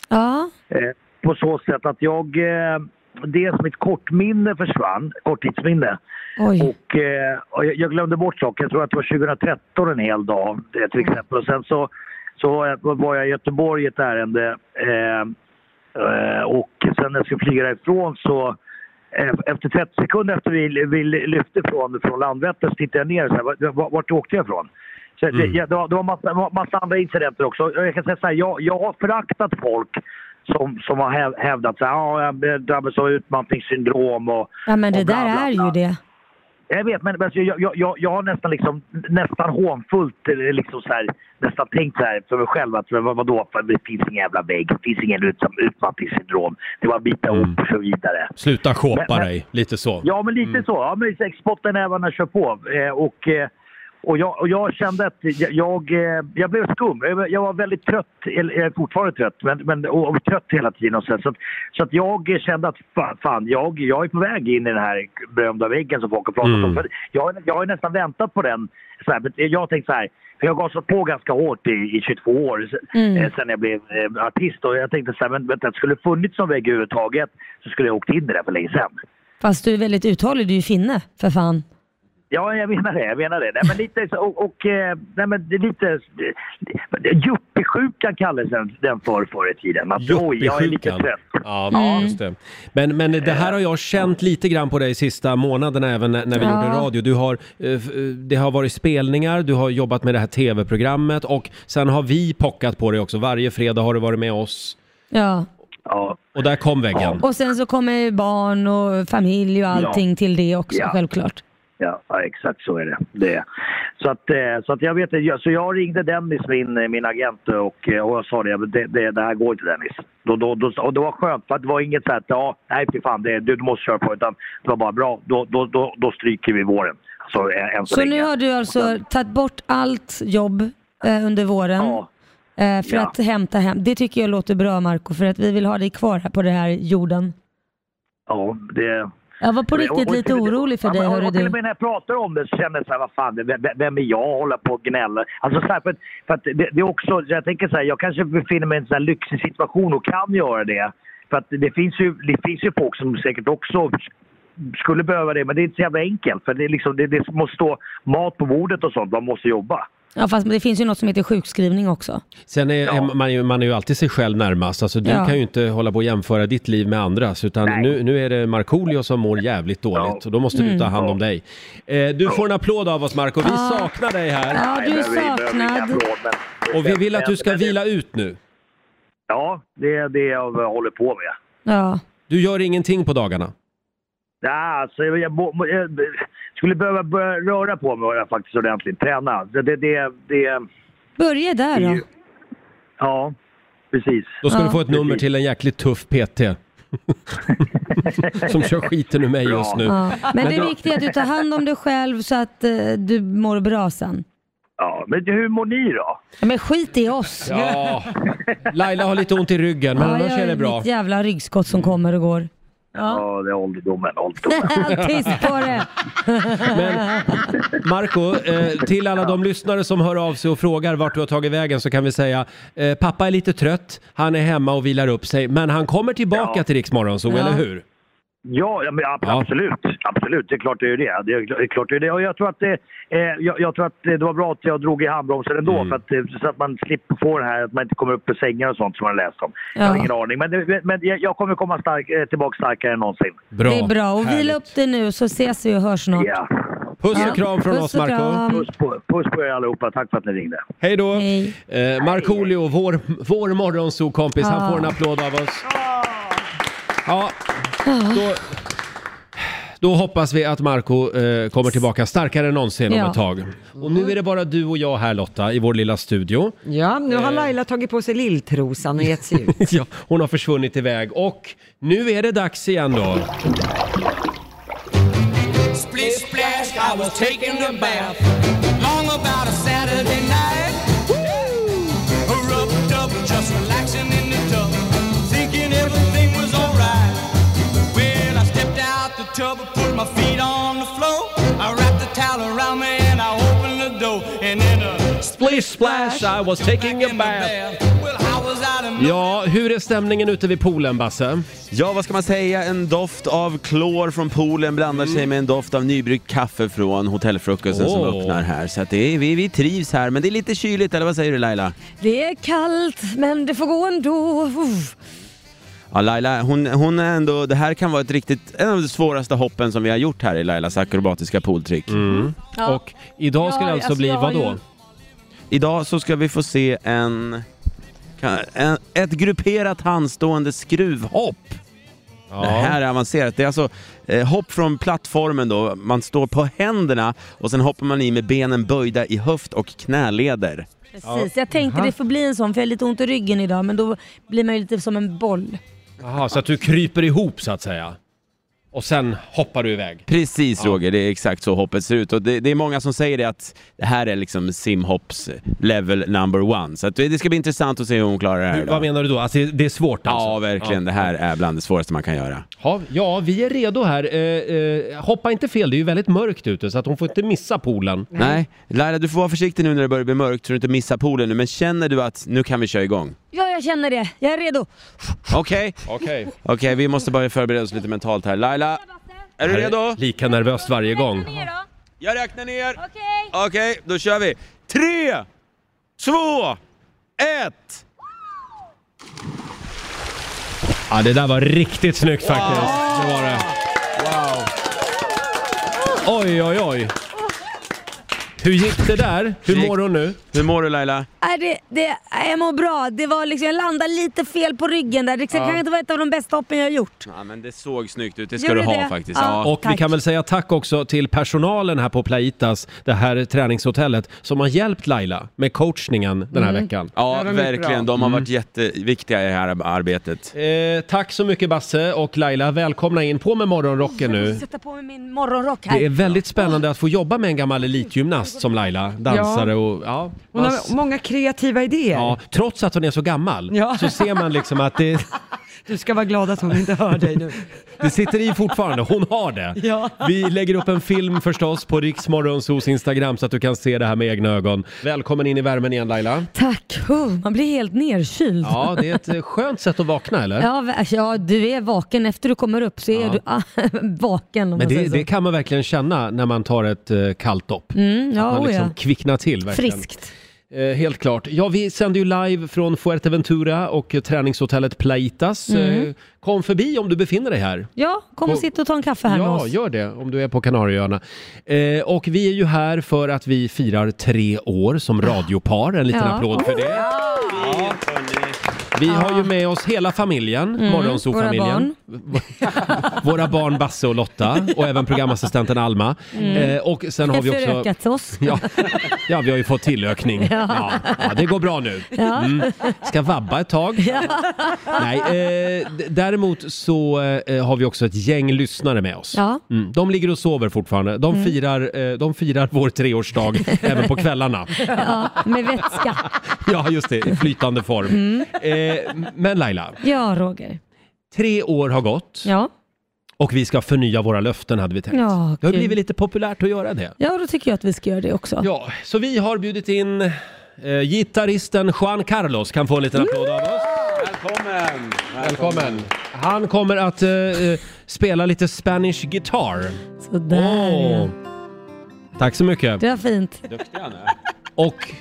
Speaker 2: ja.
Speaker 9: Eh, på så sätt att jag... Eh, dels mitt kortminne försvann, korttidsminne.
Speaker 2: Oj.
Speaker 9: Och, eh, och jag jag glömde bort saker. Jag tror att det var 2013 en hel dag eh, till exempel. Och sen så, så var jag- var jag i Göteborg i ett ärende. Eh, eh, och sen när jag skulle flyga därifrån så eh, efter 30 sekunder efter vi, vi lyfte från, från Landvetter så tittade jag ner och så här, vart, vart åkte jag ifrån? Så det, ja, det var, det var massa, massa andra incidenter också. Jag kan säga så här, jag, jag har föraktat folk som, som har häv- hävdat att ah, jag drabbas av utmattningssyndrom och
Speaker 2: ja, men det
Speaker 9: och bla,
Speaker 2: där
Speaker 9: bla,
Speaker 2: är ju
Speaker 9: bla.
Speaker 2: det.
Speaker 9: jag vet, men men alltså, jag, jag, jag, jag har nästan, liksom, nästan hånfullt eh, liksom så här, nästan tänkt så här för mig själv att vad, vadå, för det finns ingen jävla vägg, det finns ingen ut, utmattningssyndrom. Det var bita upp och så vidare.
Speaker 1: Sluta shoppa
Speaker 9: Men- men-
Speaker 1: dig, lite så.
Speaker 9: Ja, men lite så. Ja, men liksom, spotta nävarna kör på. Eh, och, eh, och, jag, och jag kände att jag, jag, eh, jag blev skum. Jag var- Jag var väldigt trött, eller jag är fortfarande trött, men, men, och, och trött hela tiden. Och så, så, att, så att jag kände att fan, fan jag, jag är på väg in i den här berömda väggen som folk har pratat om. För jag, jag har ju nästan väntat på den. Så här, men jag har tänkt så här, för jag gasade på ganska hårt i, i 22 år se- eh, sen jag blev eh, artist. Och jag tänkte så här, men vänta, skulle det funnits någon vägg överhuvudtaget så skulle jag ha åkt in i det för länge sedan.
Speaker 2: Fast du är väldigt uthållig, du är ju finne för fan.
Speaker 9: Ja, jag menar det. Jag menar det. Nej, men lite, så- och, och, eh, nej, men det är lite... Juppiesjukan kallades den, den för förr i tiden. Att, oj, jag är lite
Speaker 1: Juppisjukan.
Speaker 9: trött.
Speaker 1: Ja, just det. Men, men det här har jag känt lite grann på dig sista månaderna även när, när vi
Speaker 2: Ja.
Speaker 1: gjorde radio. Du har, eh, f- eh, det har varit spelningar, du har jobbat med det här tv-programmet och sen har vi pockat på dig också. Varje fredag har du varit med oss
Speaker 2: Ja.
Speaker 9: Ja,
Speaker 1: och där kom väggen.
Speaker 2: Och sen så kommer ju barn och familj och allting till det också
Speaker 9: Ja.
Speaker 2: självklart.
Speaker 9: ja, ja, exakt så är det. det. är- Så, att, eh, så att jag vet inte. Jag- Så jag ringde Dennis, min, eh, min agent, och, eh, och jag sa det, det, det. Det här går inte Dennis. Då, då, då, och det var skönt, för att det var inget så här att ja, nej fy fan, det, du, du måste köra på. Utan det var bara bra, då, då, då, då stryker vi våren. Så, ä- än så,
Speaker 2: Så
Speaker 9: länge.
Speaker 2: nu har du alltså tagit bort allt jobb eh, under våren eh, för
Speaker 9: Ja.
Speaker 2: att hämta hem. Det tycker jag låter bra Marco för att vi vill ha dig kvar här på den här jorden.
Speaker 9: Ja, det...
Speaker 2: Jag var på
Speaker 9: Men-
Speaker 2: riktigt
Speaker 9: och- och
Speaker 2: lite
Speaker 9: till och med-
Speaker 2: orolig för
Speaker 9: ja,
Speaker 2: dig,
Speaker 9: men- och-
Speaker 2: hörru
Speaker 9: och Till
Speaker 2: du.
Speaker 9: och med när jag pratar om det så känner jag så här, vad fan, vem, vem- vem är jag och håller på och gnäller? Alltså så här, för, att- för att det, det är också, jag tänker så här, jag kanske befinner mig i en sån här lyxig situation och kan göra det. För att det finns ju, det finns ju folk som säkert också skulle behöva det, men det är inte så jävla enkelt. För det, är liksom, det, det måste stå mat på bordet och sånt, man måste jobba.
Speaker 2: Ja fast det finns ju något som heter sjukskrivning också.
Speaker 1: Sen är, är man, ju, man är ju alltid sig själv närmast. Alltså, du
Speaker 2: Ja.
Speaker 1: kan ju inte hålla på och jämföra ditt liv med andras. Utan nu, nu är det Markoolio som mår jävligt dåligt. Och då måste du
Speaker 2: Mm.
Speaker 1: ta hand om dig. Eh, du får en applåd av oss Marco. Vi
Speaker 2: Ja.
Speaker 1: saknar dig här.
Speaker 2: Ja, du är saknad.
Speaker 1: Och vi vill att du ska vila ut nu.
Speaker 9: Ja, det är det jag håller på med.
Speaker 2: Ja.
Speaker 1: Du gör ingenting på dagarna.
Speaker 9: Ja, alltså, jag, må- må- jag skulle behöva börja röra på mig faktiskt ordentligt. Träna. Det, det, det, det,
Speaker 2: Börja där då.
Speaker 9: ja, precis.
Speaker 1: Då ska
Speaker 2: Ja.
Speaker 1: du få ett nummer till en jäkligt tuff PT. som kör skiten ur mig
Speaker 9: Bra.
Speaker 1: just nu.
Speaker 2: Ja. Men det
Speaker 1: då-
Speaker 2: är viktigt att du tar hand om dig själv så att eh, du mår bra sen.
Speaker 9: Ja, men hur mår ni då?
Speaker 2: Ja, men skit i oss.
Speaker 1: Ja, Laila har lite ont i ryggen men
Speaker 2: Ja,
Speaker 1: annars
Speaker 2: jag
Speaker 1: är det bra.
Speaker 2: Mitt jävla ryggskott som kommer och går.
Speaker 9: Ja, det är ålderdomen. ålderdomen.
Speaker 2: Tyst på det!
Speaker 1: Men Marco, eh, till alla de lyssnare som hör av sig och frågar vart du har tagit vägen så kan vi säga eh, pappa är lite trött, han är hemma och vilar upp sig men han kommer tillbaka
Speaker 9: Ja.
Speaker 1: till Rix Morgonzoo,
Speaker 2: Ja.
Speaker 1: eller hur?
Speaker 9: Ja, ja, men ab-
Speaker 1: Ja.
Speaker 9: absolut. Absolut, det är klart det är det. Det är kl- det är klart det är det. Och jag tror att det, eh, jag, jag tror att det var bra att jag drog i handbromsen ändå
Speaker 1: Mm.
Speaker 9: för att, eh, så att man slipper få det här att man inte kommer upp ur sängen och sånt som man har läst om. Jag har
Speaker 2: Ja.
Speaker 9: ingen aning. Men, det- men jag jag kommer komma stark, eh, tillbaka starkare än någonsin.
Speaker 1: Bra.
Speaker 2: Det är bra. Och vila
Speaker 1: Härligt.
Speaker 2: upp dig nu så ses vi och hörs snart.
Speaker 9: Ja.
Speaker 1: Puss
Speaker 2: Ja.
Speaker 1: och kram från
Speaker 2: Puss
Speaker 1: oss
Speaker 2: och
Speaker 1: Marco.
Speaker 2: kram.
Speaker 9: Puss på, puss på er allihopa. Tack för att ni ringde.
Speaker 1: Hej då!
Speaker 2: Hej.
Speaker 1: Eh, Markoolio, vår, vår morgonzoo-kompis, han
Speaker 2: Ja.
Speaker 1: får en applåd av oss.
Speaker 8: Ah.
Speaker 1: Ja, då, då hoppas vi att Marco eh, kommer tillbaka starkare än någonsin om
Speaker 2: Ja.
Speaker 1: ett tag. Och nu är det bara du och jag här Lotta i vår lilla studio.
Speaker 3: Ja, nu
Speaker 8: Eh.
Speaker 3: har Laila tagit på sig lilltrosan och gett sig ut.
Speaker 1: Ja, hon har försvunnit iväg och nu är det dags igen då.
Speaker 5: Splish splash, I was taking a bath. Long about a Saturday night. Woo! Rubbed up, just relaxing in the tub. Thinking everything was alright. Well, I stepped out the tub, put my feet on the floor. I wrapped the towel around me and I opened the door. And then a
Speaker 1: Splish splash, I was taking a
Speaker 5: in the
Speaker 1: bath.
Speaker 5: bath. Well, I was out of
Speaker 1: Ja, hur är stämningen ute vid poolen Basse?
Speaker 8: Ja, vad ska man säga? En doft av klor från poolen blandar sig med en doft av nybryggt kaffe från hotellfrukosten som
Speaker 1: Mm. Åh.
Speaker 8: öppnar här. Så att det är, vi, vi trivs här, men det är lite kyligt, eller vad säger du Laila?
Speaker 2: Det är kallt, men det får gå ändå. Uff.
Speaker 8: Ja, Laila, hon, hon är ändå, det här kan vara ett riktigt, en av de svåraste hoppen som vi har gjort här i Lailas akrobatiska pooltrick.
Speaker 2: Ja.
Speaker 1: Och Mm. idag ska
Speaker 2: Mm. Ja,
Speaker 1: det alltså
Speaker 2: alltså,
Speaker 1: bli
Speaker 2: jag
Speaker 1: vad
Speaker 2: har
Speaker 1: då?
Speaker 2: ju-
Speaker 8: Idag så ska vi få se en, kan- en ett grupperat handstående skruvhopp. Det här är avancerat. Det är alltså eh, hopp från plattformen då, man står på händerna och sen hoppar man i med benen böjda i höft och knäleder.
Speaker 2: Precis, jag tänkte det får bli en sån för jag har lite ont i ryggen idag men då blir man ju lite som en boll.
Speaker 1: Jaha, så att du kryper ihop så att säga. Och sen hoppar du iväg.
Speaker 8: Precis Roger, det är exakt så hoppet ser ut och det, det är många som säger det att det här är liksom simhopps level number one. Så att det det ska bli intressant att se hur hon klarar det här
Speaker 1: Vad
Speaker 8: idag.
Speaker 1: menar du då? Alltså, det- det är svårt alltså?
Speaker 8: Ja, verkligen. Det här är bland det svåraste man kan göra.
Speaker 1: Ja, ja vi är redo här. Eh, eh, hoppa inte fel, det är ju väldigt mörkt ute så att hon får inte missa poolen.
Speaker 8: Nej, Laila du får vara försiktig nu när det börjar bli mörkt så du inte missar poolen nu, men känner du att nu kan vi köra igång?
Speaker 2: Ja, jag känner det. Jag är redo.
Speaker 8: Okej,
Speaker 1: Okej.
Speaker 8: okej vi måste börja förbereda oss lite mentalt här. Laila, är du redo?
Speaker 1: Lika nervöst varje gång.
Speaker 8: Jag räknar ner.
Speaker 2: Okej.
Speaker 8: Okej, då kör vi. Tre, två, ett!
Speaker 1: Ja, det där var riktigt snyggt faktiskt. Det var det. Oj, oj, oj. Hur gick det där? Hur
Speaker 8: gick-
Speaker 1: mår hon nu?
Speaker 8: Hur mår du Laila?
Speaker 2: Nej, Äh, det, det, nej, jag mår bra. Det var liksom, jag landade lite fel på ryggen där. Det kanske inte var ett av de bästa hoppen jag har gjort.
Speaker 8: Ja, men det såg snyggt ut, det ska
Speaker 2: Gjorde
Speaker 8: du ha
Speaker 2: det?
Speaker 8: faktiskt.
Speaker 2: Ja.
Speaker 8: Ja.
Speaker 1: Och vi
Speaker 2: Tack.
Speaker 1: kan väl säga tack också till personalen här på Plaitas, det här träningshotellet, som har hjälpt Laila med coachningen den här
Speaker 2: Mm.
Speaker 1: veckan. Mm.
Speaker 8: Ja,
Speaker 3: Mm. Ja, de gick
Speaker 8: verkligen. De har varit jätteviktiga i det här arbetet.
Speaker 1: Eh, tack så mycket Basse och Laila, välkomna in. På med morgonrocken
Speaker 2: Jag
Speaker 1: nu.
Speaker 2: måste sätta på mig min morgonrock här.
Speaker 1: Det är väldigt spännande att få jobba med en gammal elitgymnast som Laila, dansare och ja.
Speaker 3: Hon
Speaker 1: man-
Speaker 3: har många kreativa idéer.
Speaker 1: Ja, trots att hon är så gammal
Speaker 3: Ja.
Speaker 1: så ser man liksom att det,
Speaker 3: Du ska vara glad att hon inte hör dig nu.
Speaker 1: det sitter i fortfarande. Hon har det.
Speaker 3: Ja.
Speaker 1: Vi lägger upp en film förstås på Riksmorgonsos Instagram så att du kan se det här med egna ögon. Välkommen in i värmen igen Laila.
Speaker 2: Tack. Oh, man blir helt nerkyld. Ja.
Speaker 1: Ja, det är ett eh, skönt sätt att vakna eller?
Speaker 2: vä- ja, du är vaken. Efter du kommer upp så är
Speaker 1: Ja.
Speaker 2: du ah, vaken
Speaker 1: Men
Speaker 2: om man
Speaker 1: det,
Speaker 2: säger så.
Speaker 1: det kan man verkligen känna när man tar ett eh, kallt dopp.
Speaker 2: Mm, ja,
Speaker 1: Man
Speaker 2: oh,
Speaker 1: liksom
Speaker 2: ja.
Speaker 1: kvicknar till verkligen.
Speaker 2: Friskt.
Speaker 1: Eh, helt klart. Ja, vi sänder ju live från Fuerteventura och eh, träningshotellet Plaitas.
Speaker 2: Mm.
Speaker 1: Eh, kom förbi om du befinner dig här.
Speaker 2: Ja, kom och
Speaker 1: Och-
Speaker 2: sitt och ta en kaffe här med
Speaker 1: ja,
Speaker 2: oss.
Speaker 1: gör det om du är på Kanarieöarna. Eh, och vi är ju här för att vi firar tre år som radiopar. En liten
Speaker 2: Ja.
Speaker 1: applåd för det. Vi har ju med oss hela familjen,
Speaker 2: Mm.
Speaker 1: Morgonzoo-familjen. Våra barn Basse och Lotta och även programassistenten Alma.
Speaker 2: Mm.
Speaker 1: Eh, och sen har vi också...
Speaker 2: Förökat oss.
Speaker 1: Ja, ja, vi har ju fått tillökning. Ja. Ja, det går bra nu. Mm. Ska vabba ett tag. Nej, eh, d- däremot så eh, har vi också ett gäng lyssnare med oss.
Speaker 2: Ja. Mm.
Speaker 1: Mm, de ligger och sover fortfarande. De firar, eh, de firar vår treårsdag även på kvällarna.
Speaker 2: Ja, med vätska.
Speaker 1: Ja, just det. I flytande form.
Speaker 2: Mm.
Speaker 1: Eh, men Laila,
Speaker 2: Ja, Roger.
Speaker 1: tre år har gått
Speaker 2: Ja.
Speaker 1: och vi ska förnya våra löften hade vi tänkt.
Speaker 2: Ja,
Speaker 1: det har
Speaker 2: kul.
Speaker 1: blivit lite populärt att göra det.
Speaker 2: ja, då tycker jag att vi ska göra det också.
Speaker 1: Ja, så vi har bjudit in eh, gitarristen Juan Carlos kan få en liten applåd av oss.
Speaker 8: Välkommen!
Speaker 1: Välkommen! Han kommer att eh, eh, spela lite Spanish guitar.
Speaker 2: Sådär
Speaker 1: Åh.
Speaker 2: ja.
Speaker 1: Tack så mycket.
Speaker 2: Det var fint.
Speaker 8: Duktig han är.
Speaker 1: Och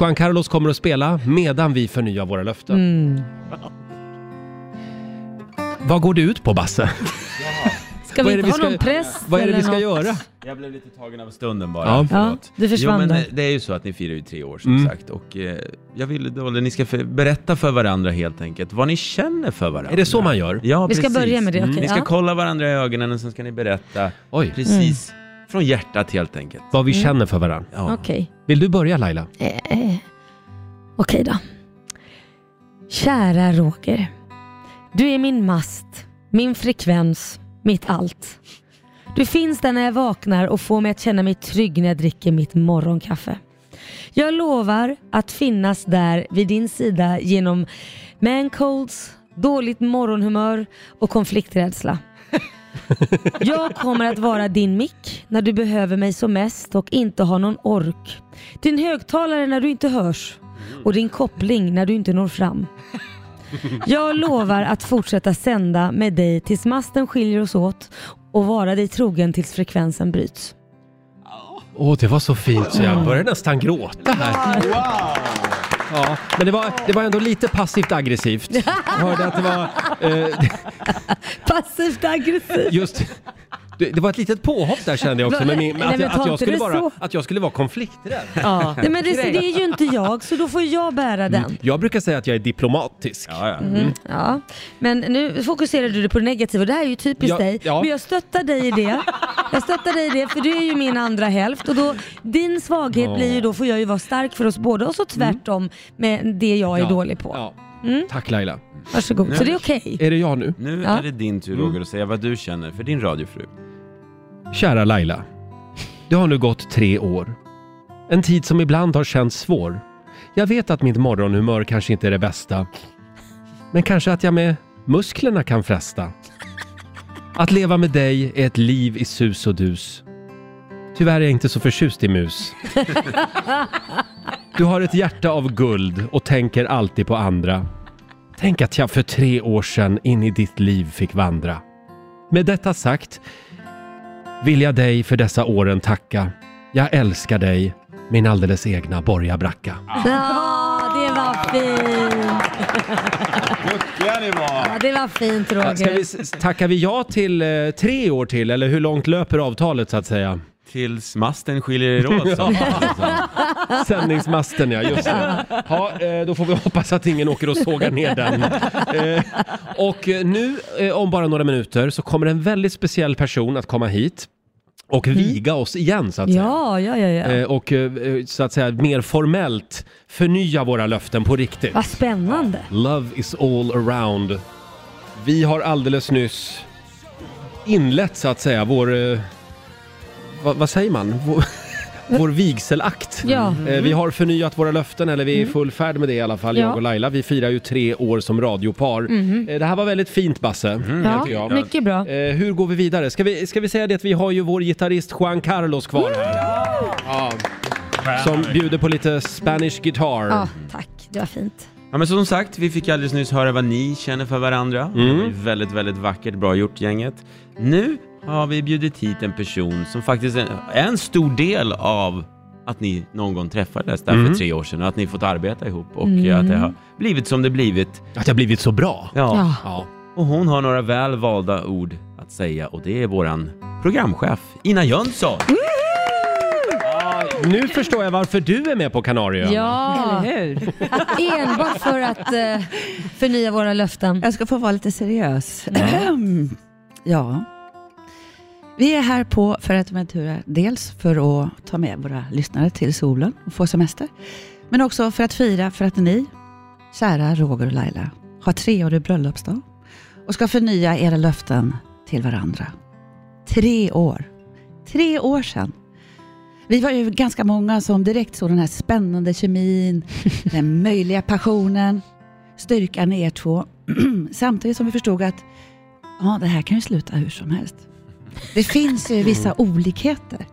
Speaker 1: Juan Carlos kommer att spela medan vi förnyar våra löften.
Speaker 2: Mm.
Speaker 1: Vad går det ut på Basse?
Speaker 2: Ska
Speaker 1: Vad
Speaker 2: vi
Speaker 1: är det
Speaker 2: inte
Speaker 1: vi
Speaker 2: ha
Speaker 1: ska-
Speaker 2: någon press
Speaker 1: Vad är det
Speaker 2: eller
Speaker 1: vi ska
Speaker 2: något?
Speaker 1: göra?
Speaker 8: Jag blev lite tagen av stunden bara.
Speaker 1: Ja.
Speaker 8: Förlåt.
Speaker 2: Ja, du försvann
Speaker 8: jo, men
Speaker 2: där.
Speaker 8: eh, det är ju så att ni firar ju tre år som sagt och eh, jag ville då, eller ni ska för, berätta för varandra helt enkelt vad ni känner för varandra.
Speaker 1: Är det så man gör? Mm.
Speaker 8: Ja,
Speaker 2: Vi ska
Speaker 8: precis.
Speaker 2: börja med det, okej.
Speaker 8: Ni ska
Speaker 2: ja.
Speaker 8: kolla varandra i ögonen och sen ska ni berätta
Speaker 1: Oj.
Speaker 8: precis
Speaker 2: Mm.
Speaker 8: från hjärtat helt enkelt.
Speaker 1: Vad vi känner för varandra.
Speaker 8: Ja.
Speaker 2: Okej.
Speaker 1: Vill du börja Laila?
Speaker 2: Eh, eh. Okej då. Kära Roger. Du är min mast, min frekvens, mitt allt. Du finns där när jag vaknar och får mig att känna mig trygg när jag dricker mitt morgonkaffe. Jag lovar att finnas där vid din sida genom mancolds, dåligt morgonhumör och konflikträdsla. Jag kommer att vara din mick när du behöver mig som mest och inte har någon ork. Din högtalare när du inte hörs och din koppling när du inte når fram. Jag lovar att fortsätta sända med dig tills masten skiljer oss åt och vara dig trogen tills frekvensen bryts.
Speaker 1: Åh, det var så fint så jag började nästan gråta här. Wow! Ja, men det var, det var ändå lite passivt aggressivt. Jag hörde att det var eh,
Speaker 2: Passivt aggressiv.
Speaker 1: just... Det det var ett litet påhopp där kände jag också, med min,
Speaker 2: Nej,
Speaker 1: att,
Speaker 2: men
Speaker 1: jag-
Speaker 2: ta
Speaker 1: att, jag
Speaker 2: inte
Speaker 1: skulle
Speaker 2: det
Speaker 1: vara,
Speaker 2: så.
Speaker 1: att jag skulle vara konflikträdd.
Speaker 2: Ja. Nej, men det, det är ju inte jag så då får jag bära den.
Speaker 1: Jag brukar säga att jag är diplomatisk. Mm.
Speaker 8: Ja, ja.
Speaker 2: Mm-hmm. Ja. Men nu fokuserar du på det negativa och det här är ju typiskt
Speaker 1: Ja,
Speaker 2: dig.
Speaker 1: ja.
Speaker 2: Men jag stöttar dig i det. Jag stöttar dig i det för du är ju min andra hälft och då, din svaghet blir ju då, får jag ju vara stark för oss båda och så tvärtom med det jag är
Speaker 1: Mm. Ja,
Speaker 2: dålig på. Mm.
Speaker 1: ja. Tack Laila.
Speaker 2: Varsågod. Så det är okej.
Speaker 1: Är det jag nu? Mm.
Speaker 8: Nu
Speaker 2: Ja.
Speaker 8: är det din tur Roger att säga vad du känner för din radiofru.
Speaker 1: Kära Laila. Det har nu gått tre år. En tid som ibland har känts svår. Jag vet att mitt morgonhumör kanske inte är det bästa. Men kanske att jag med musklerna kan fresta. Att leva med dig är ett liv i sus och dus. Tyvärr är jag inte så förtjust i mus. Du har ett hjärta av guld och tänker alltid på andra. Tänk att jag för tre år sedan in i ditt liv fick vandra. Med detta sagt vill jag dig för dessa åren tacka. Jag älskar dig, min alldeles egna Borgabracka.
Speaker 2: Ja, det var fint.
Speaker 8: Duktiga ni var!
Speaker 2: Ja, det var fint Roger.
Speaker 1: Ska vi, s- tackar vi ja till eh, tre år till, eller hur långt löper avtalet så att säga?
Speaker 8: Tills masten skiljer er åt. så.
Speaker 1: Sändningsmasten ja, just det. Ja, eh, då får vi hoppas att ingen åker och sågar ner den. Eh, Och eh, nu eh, om bara några minuter så kommer en väldigt speciell person att komma hit och viga oss igen så att säga.
Speaker 2: Ja, ja, ja. ja.
Speaker 1: Eh, Och eh, eh, så att säga mer formellt förnya våra löften på riktigt.
Speaker 2: Vad spännande.
Speaker 1: Love is all around. Vi har alldeles nyss inlett så att säga vår... eh, Vad, vad säger man? Vår, vår vigselakt.
Speaker 2: Ja.
Speaker 1: Eh, Vi har förnyat våra löften, eller vi är i full färd med det i alla fall,
Speaker 2: Mm. Ja. Mm-hmm.
Speaker 1: jag och Laila. Vi firar ju tre år som radiopar. Eh, Det här var väldigt fint, Basse. tycker
Speaker 2: Ja,
Speaker 1: jag.
Speaker 2: mycket bra.
Speaker 1: Eh, hur går vi vidare? Ska vi, ska vi säga det att vi har ju vår gitarrist Juan Carlos kvar här. Ja. Som bjuder på lite Spanish guitar.
Speaker 2: Ja, tack. Det var fint.
Speaker 8: Ja, men som sagt, vi fick alldeles nyss höra vad ni känner för varandra.
Speaker 1: Mm.
Speaker 8: Det var ju väldigt, väldigt vackert, bra gjort gänget. Nu har vi bjudit hit en person som faktiskt är är en stor del av att ni någon gång träffades där
Speaker 1: Mm.
Speaker 8: för tre år sedan och att ni fått arbeta ihop och
Speaker 2: Mm.
Speaker 8: eh, att det har blivit som det blivit.
Speaker 1: Att det har blivit så bra.
Speaker 8: Ja.
Speaker 2: Ja.
Speaker 1: Ja.
Speaker 8: Och hon har några väl valda ord att säga och det är våran programchef Ina Jönsson.
Speaker 1: Nu förstår jag varför du är med på Kanarieöarna.
Speaker 2: Ja,
Speaker 10: Eller hur?
Speaker 2: Ah. enbart för att eh, förnya våra löften.
Speaker 10: Jag ska få vara lite seriös. ja. Vi är här på Ferraventura dels för att ta med våra lyssnare till solen och få semester, men också för att fira för att ni, kära Roger och Laila, har treårig bröllopsdag och ska förnya era löften till varandra. Tre år. Tre år sedan. Vi var ju ganska många som direkt såg den här spännande kemin, den möjliga passionen, styrkan i er två. Samtidigt som vi förstod att ja, det här kan ju sluta hur som helst. Det finns ju vissa olikheter.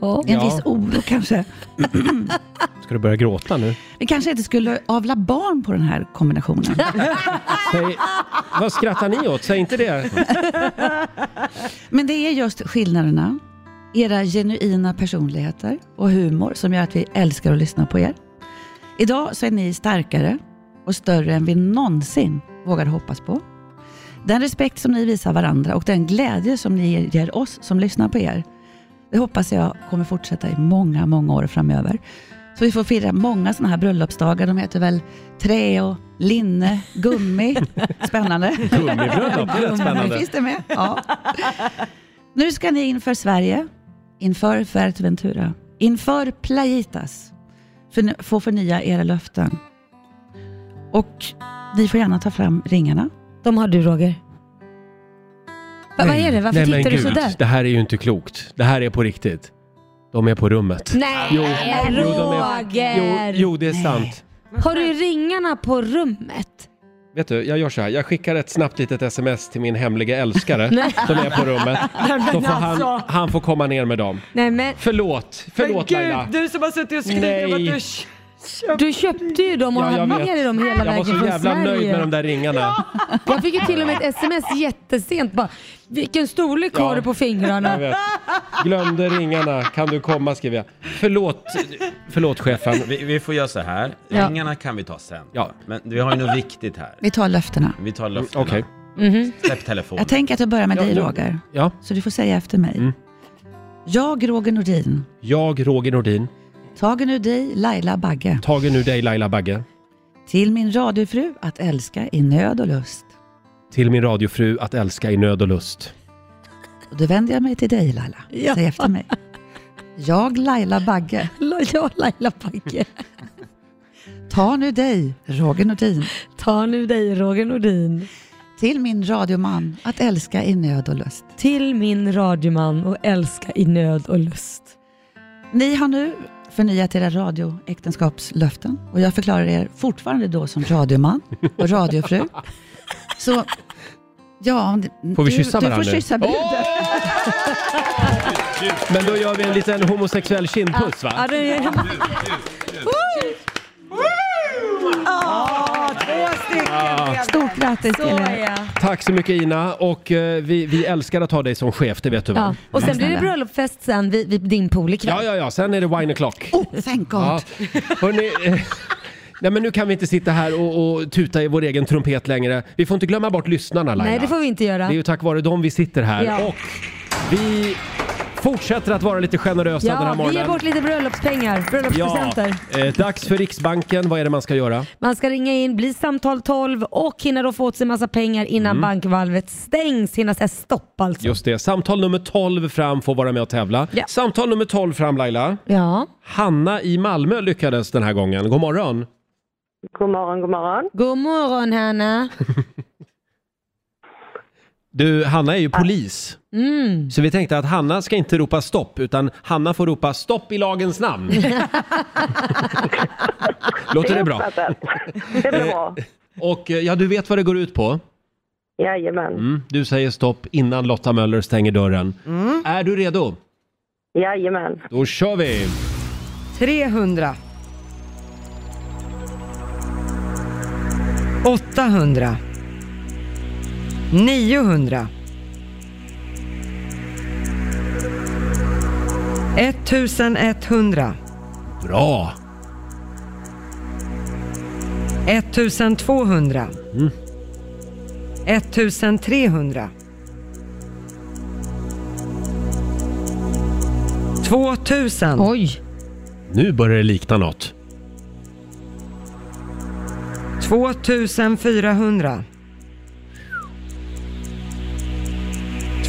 Speaker 2: Ja.
Speaker 10: En
Speaker 1: Ja.
Speaker 10: viss oro kanske.
Speaker 1: Ska du börja gråta nu?
Speaker 10: Vi kanske inte skulle avla barn på den här kombinationen.
Speaker 1: Säg, vad skrattar ni åt? Säg inte det.
Speaker 10: Men det är just skillnaderna, era genuina personligheter och humor som gör att vi älskar att lyssna på er. Idag så är ni starkare och större än vi någonsin vågade hoppas på. Den respekt som ni visar varandra och den glädje som ni ger oss som lyssnar på er, det hoppas jag kommer fortsätta i många, många år framöver. Så vi får fira många sådana här bröllopsdagar. De heter väl trä och linne, gummi. Spännande.
Speaker 1: Gummibröllop, det lät
Speaker 10: Ja,
Speaker 1: spännande.
Speaker 10: Finns det med? Ja. nu ska ni inför Sverige, inför Fuerteventura, inför Playitas för, få förnya era löften. Och ni får gärna ta fram ringarna.
Speaker 2: De har du Roger. Va, vad är det? Varför
Speaker 1: Nej, men
Speaker 2: tittar du
Speaker 1: gud,
Speaker 2: sådär?
Speaker 1: Det här är ju inte klokt. Det här är på riktigt. De är på rummet.
Speaker 2: Nej,
Speaker 1: Jo, jo, de är- Jo,
Speaker 2: Roger!
Speaker 1: jo det är
Speaker 10: Nej.
Speaker 1: sant.
Speaker 2: Har du ringarna på rummet?
Speaker 1: Vet du, jag gör så här. Jag skickar ett snabbt litet sms till min hemliga älskare
Speaker 2: Nej.
Speaker 1: som är på rummet. Då får han,
Speaker 3: alltså.
Speaker 1: han får komma ner med dem.
Speaker 2: Nej men
Speaker 1: Förlåt, förlåt
Speaker 3: men
Speaker 1: Laila.
Speaker 3: du som har suttit och
Speaker 1: Nej.
Speaker 3: skrivit om Alltså, att du sh-
Speaker 2: du köpte ju dem och
Speaker 1: Ja, jag
Speaker 2: hade
Speaker 1: vet.
Speaker 2: med dig dem hela
Speaker 1: Jag var
Speaker 2: vägen
Speaker 1: så
Speaker 2: från
Speaker 1: jävla
Speaker 2: Sverige.
Speaker 1: nöjd med de där ringarna.
Speaker 2: Jag fick ju till och med ett sms jättesent bara. Vilken storlek
Speaker 1: Ja.
Speaker 2: har du på
Speaker 1: Jag
Speaker 2: fingrarna?
Speaker 1: vet. Glömde ringarna, kan du komma skriver jag. Förlåt, förlåt chefen.
Speaker 8: Vi, vi får göra så här,
Speaker 2: Ja.
Speaker 8: ringarna kan vi ta sen.
Speaker 1: Ja.
Speaker 8: Men vi har ju något viktigt här.
Speaker 10: Vi tar löftena.
Speaker 8: Vi tar löftena.
Speaker 1: Mm, Okej,
Speaker 8: Släpp telefonen.
Speaker 10: Jag tänker att jag börjar med
Speaker 1: Ja,
Speaker 10: dig
Speaker 1: nu-
Speaker 10: Roger,
Speaker 1: ja. Mm.
Speaker 10: så du får säga efter mig. Jag, Roger Nordin,
Speaker 1: Jag, Roger Nordin,
Speaker 10: tagen ur dig, Laila Bagge,
Speaker 1: tagen ur dig Laila Bagge,
Speaker 10: till min radiofru att älska i nöd och lust.
Speaker 1: till min radiofru att älska i nöd och lust.
Speaker 10: Och då vänder jag mig till dig Laila,
Speaker 2: Ja.
Speaker 10: säg efter mig. Jag, Laila Bagge,
Speaker 2: Ja Laila Bagge.
Speaker 10: Ta nu dig, Roger Nordin,
Speaker 2: Ta nu dig Roger Nordin.
Speaker 10: till min radioman att älska i nöd och lust.
Speaker 2: Till min radioman och älska i nöd och lust.
Speaker 10: Ni har nu förnyat era radioäktenskapslöften och jag förklarar er fortfarande då som radioman och radiofru. Så, ja, om det-
Speaker 1: Får vi
Speaker 10: du,
Speaker 1: kyssa
Speaker 10: du
Speaker 1: varandra
Speaker 10: får
Speaker 1: nu?
Speaker 10: kyssa bruden.
Speaker 1: Men då gör vi en liten homosexuell kindpuss va?
Speaker 2: Ja, det är...
Speaker 10: Stort grattis till er.
Speaker 1: Tack så mycket Ina och eh, vi, vi älskar att ha dig som chef, det vet du
Speaker 2: ja.
Speaker 1: va?
Speaker 2: Och sen blir det bröllopsfest sen vid, vid din pool ikväll.
Speaker 1: Ja, ja, ja, sen är det wine o'clock.
Speaker 10: Oh, thank God.
Speaker 1: Ja. Hörrni, eh, nej men nu kan vi inte sitta här och, och tuta i vår egen trumpet längre. Vi får inte glömma bort lyssnarna Laila.
Speaker 2: Nej, det får vi inte göra.
Speaker 1: Det är ju tack vare dem vi sitter här
Speaker 2: Ja.
Speaker 1: och vi fortsätter att vara lite generösa den här
Speaker 2: Ja, vi ger
Speaker 1: morgonen.
Speaker 2: bort lite bröllopspengar, bröllopspresenter.
Speaker 1: eh, dags för Riksbanken. Vad är det man ska göra?
Speaker 2: Man ska ringa in, bli samtal 12 och hinna då få åt sig massa pengar innan
Speaker 1: Mm.
Speaker 2: bankvalvet stängs. Hinna säga stopp alltså.
Speaker 1: Just det, samtal nummer 12 fram får vara med och tävla.
Speaker 2: Ja.
Speaker 1: Samtal nummer 12 fram Laila.
Speaker 2: Ja.
Speaker 1: Hanna i Malmö lyckades den här gången. God morgon.
Speaker 2: God morgon, god morgon. God morgon Hanna.
Speaker 1: Du, Hanna är ju polis.
Speaker 2: Mm.
Speaker 1: Så vi tänkte att Hanna ska inte ropa stopp, utan Hanna får ropa stopp i lagens namn. Låter det bra?
Speaker 6: Det blir bra.
Speaker 1: Och eh, ja, du vet vad det går ut på?
Speaker 6: Jajamän.
Speaker 1: Mm, du säger stopp innan Lotta Möller stänger dörren.
Speaker 6: Mm.
Speaker 1: Är du redo?
Speaker 6: Jajamän.
Speaker 1: Då kör vi!
Speaker 3: 300. 800. 900. 1100.
Speaker 1: Bra!
Speaker 3: 1200.
Speaker 1: Mm.
Speaker 3: 1300. 2000.
Speaker 2: Oj!
Speaker 1: Nu börjar det likna något.
Speaker 3: 2400.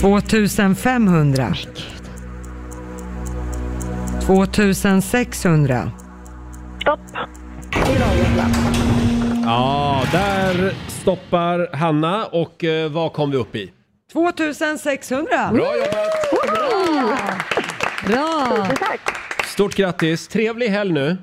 Speaker 3: 2500. 2600.
Speaker 1: Ja, där stoppar Hanna och eh, vad kom vi upp i?
Speaker 3: 2600!
Speaker 1: Bra jobbat!
Speaker 2: Bra!
Speaker 1: Stort grattis! Trevlig helg nu!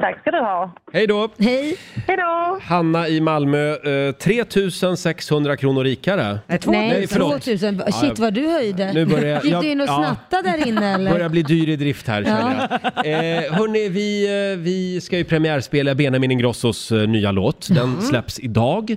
Speaker 6: Tack ska du ha.
Speaker 1: Hej då!
Speaker 2: Hej!
Speaker 6: Hej då!
Speaker 1: Hanna i Malmö, eh, 3600 kronor rikare.
Speaker 2: Nej,
Speaker 1: förlåt.
Speaker 2: 2000.
Speaker 1: Ja,
Speaker 2: Shit vad du höjde.
Speaker 1: Nu börjar jag-
Speaker 2: Gick
Speaker 1: jag-
Speaker 2: du in och
Speaker 1: ja.
Speaker 2: snattade där inne eller?
Speaker 1: Börjar bli dyr i drift här känner jag. Eh, hörni, vi, eh, vi ska ju premiärspela Benjamin Ingrossos eh, nya låt. Den
Speaker 2: Mhm.
Speaker 1: släpps idag.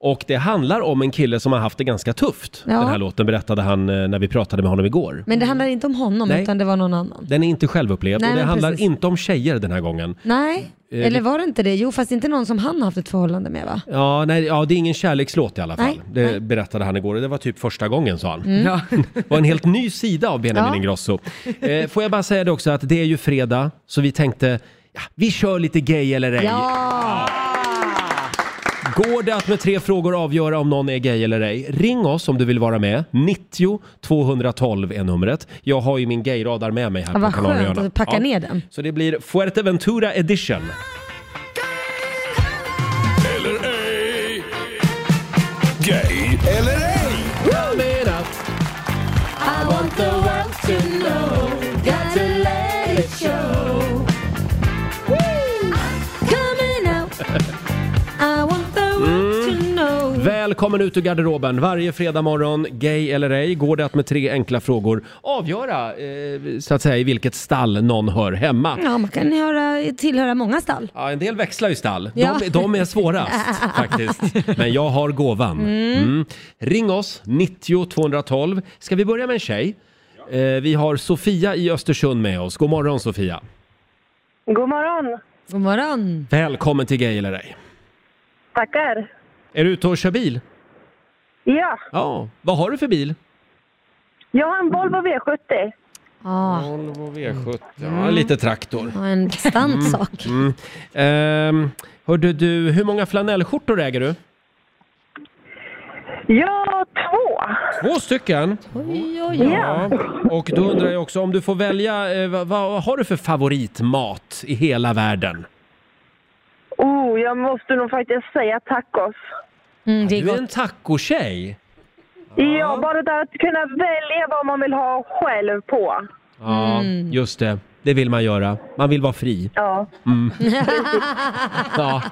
Speaker 1: Och det handlar om en kille som har haft det ganska tufft.
Speaker 2: Ja.
Speaker 1: Den här låten berättade han eh, när vi pratade med honom igår.
Speaker 2: Men det handlar inte om honom
Speaker 1: Nej.
Speaker 2: utan det var någon annan.
Speaker 1: Den är inte självupplevd
Speaker 2: Nej,
Speaker 1: och det
Speaker 2: men
Speaker 1: handlar
Speaker 2: precis.
Speaker 1: inte om tjejer den här gången.
Speaker 2: Nej,
Speaker 1: Eh,
Speaker 2: eller
Speaker 1: vi-
Speaker 2: var det inte det? Jo, fast inte någon som han haft ett förhållande med va?
Speaker 1: Ja, nej, ja, det är ingen kärlekslåt i alla fall.
Speaker 2: Nej,
Speaker 1: det berättade han igår och det var typ första gången sa han.
Speaker 2: Mm. Ja.
Speaker 1: Det var en helt ny sida av Benjamin
Speaker 2: Ja.
Speaker 1: Ingrosso. Eh, får jag bara säga det också att det är ju fredag så vi tänkte ja, vi kör lite gay eller ej.
Speaker 2: Ja!
Speaker 1: Går det att med tre frågor avgöra om någon är gay eller ej? Ring oss om du vill vara med. 90 212 är numret. Jag har ju min gayradar med mig här
Speaker 2: Ja,
Speaker 1: på
Speaker 2: vad
Speaker 1: Kanarieöarna.
Speaker 2: skönt att du packar
Speaker 1: Ja.
Speaker 2: ner den.
Speaker 1: Så det blir Fuerteventura edition.
Speaker 4: Gay eller ej?
Speaker 5: I want the world to know. Got to let it show. Woo! Coming out.
Speaker 2: I want the world to
Speaker 1: Mm.
Speaker 2: know.
Speaker 1: Välkommen ut ur garderoben varje fredag morgon. Gay eller ej? Går det att med tre enkla frågor avgöra eh, så att säga i vilket stall någon hör hemma?
Speaker 2: Ja, man kan höra, tillhöra många stall.
Speaker 1: Ja, en del växlar ju stall.
Speaker 2: Ja.
Speaker 1: De, de är svårast faktiskt. Men jag har gåvan.
Speaker 2: Mm.
Speaker 1: Ring oss, 90 212. Ska vi börja med en tjej? Eh, vi har Sofia i Östersund med oss. God morgon Sofia.
Speaker 6: God morgon.
Speaker 2: God morgon.
Speaker 1: Välkommen till Gay eller ej.
Speaker 6: Tackar.
Speaker 1: Är du ute och kör bil?
Speaker 6: Ja,
Speaker 1: Ja. Vad har du för bil?
Speaker 6: jag har en Volvo V70.
Speaker 2: Ja,
Speaker 1: V70. Ja, lite traktor.
Speaker 2: ja, en bastant
Speaker 1: Mm.
Speaker 2: sak.
Speaker 1: Mm. Ehm, hörde du, hur många flanellskjortor äger du?
Speaker 6: Ja, två.
Speaker 1: Två stycken?
Speaker 2: Oj,
Speaker 1: Ja. Och då undrar jag också, om du får välja, eh, vad, vad har du för favoritmat i hela världen?
Speaker 6: Oh, jag måste nog faktiskt säga tacos.
Speaker 2: Mm,
Speaker 1: du är en tacotjej.
Speaker 6: Ja, bara det att kunna välja vad man vill ha själv på.
Speaker 1: Ja,
Speaker 6: Mm.
Speaker 1: just det. Det vill man göra. Man vill vara fri.
Speaker 6: Ja.
Speaker 1: Mm. Ja.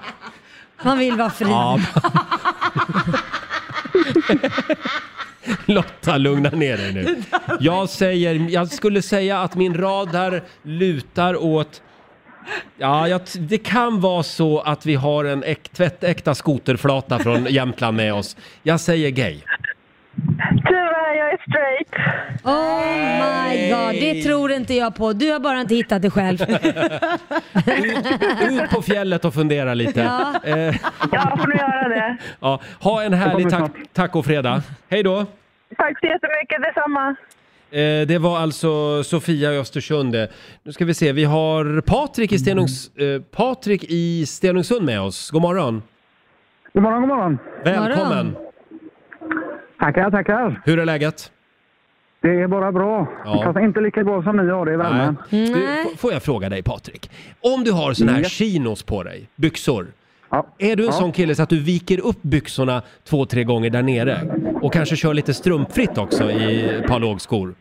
Speaker 2: Man vill vara fri.
Speaker 1: ja. Lotta, lugna ner dig nu. Jag, säger, jag skulle säga att min radar lutar åt... Ja, jag, t- det kan vara så att vi har en äk, tvättäkta skoterflata från Jämtland med oss. Jag säger gay.
Speaker 6: Tyvärr, jag är straight.
Speaker 2: Oh my god, det tror inte jag på. Du har bara inte hittat det själv.
Speaker 1: Ut på fjället och fundera lite.
Speaker 2: Ja.
Speaker 1: Eh,
Speaker 6: Ja, får ni göra det.
Speaker 1: ja. Ha en härlig tac- tacofredag. Hej då!
Speaker 6: Tack så jättemycket, detsamma.
Speaker 1: Eh, det var alltså Sofia i Östersund. det. Nu ska vi se, vi har Patrik i, Stenungs, eh, Patrik i Stenungsund med oss. God morgon!
Speaker 11: God morgon, god morgon!
Speaker 1: Välkommen!
Speaker 11: Morgon. Tackar, tackar!
Speaker 1: Hur är läget?
Speaker 11: Det är bara bra.
Speaker 1: Ja.
Speaker 11: Fast inte lika bra som ni har det i värmen.
Speaker 1: Du, f- får jag fråga dig Patrik? Om du har såna här
Speaker 11: Ja.
Speaker 1: chinos på dig, byxor. Är du en
Speaker 11: Ja.
Speaker 1: sån kille så att du viker upp byxorna två, tre gånger där nere? Och kanske kör lite strumpfritt också i ett par lågskor?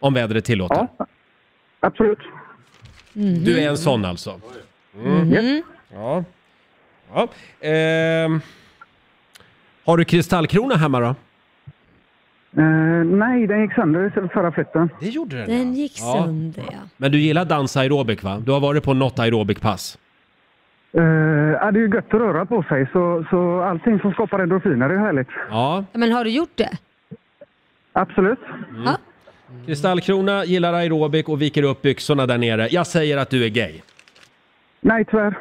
Speaker 1: Om vädret tillåter.
Speaker 11: Absolut.
Speaker 2: Mm-hmm.
Speaker 1: Du är en sån alltså? Mm.
Speaker 11: Mhm.
Speaker 1: Ja. ja. Ehm. Har du kristallkrona hemma då?
Speaker 11: Eh, nej, den gick sönder i förra flytten.
Speaker 1: Det gjorde
Speaker 2: Den gick
Speaker 1: Ja.
Speaker 2: sönder ja.
Speaker 1: Men du gillar dansa aerobik va? Du har varit på något aerobikpass?
Speaker 11: Eh, ja, det är ju gött att röra på sig, så, så allting som skapar endorfiner är härligt.
Speaker 1: Ja.
Speaker 2: Men har du gjort det?
Speaker 11: Absolut.
Speaker 2: Ja.
Speaker 1: Kristallkrona gillar aerobik och viker upp byxorna där nere. Jag säger att du är gay.
Speaker 11: Nej, tyvärr.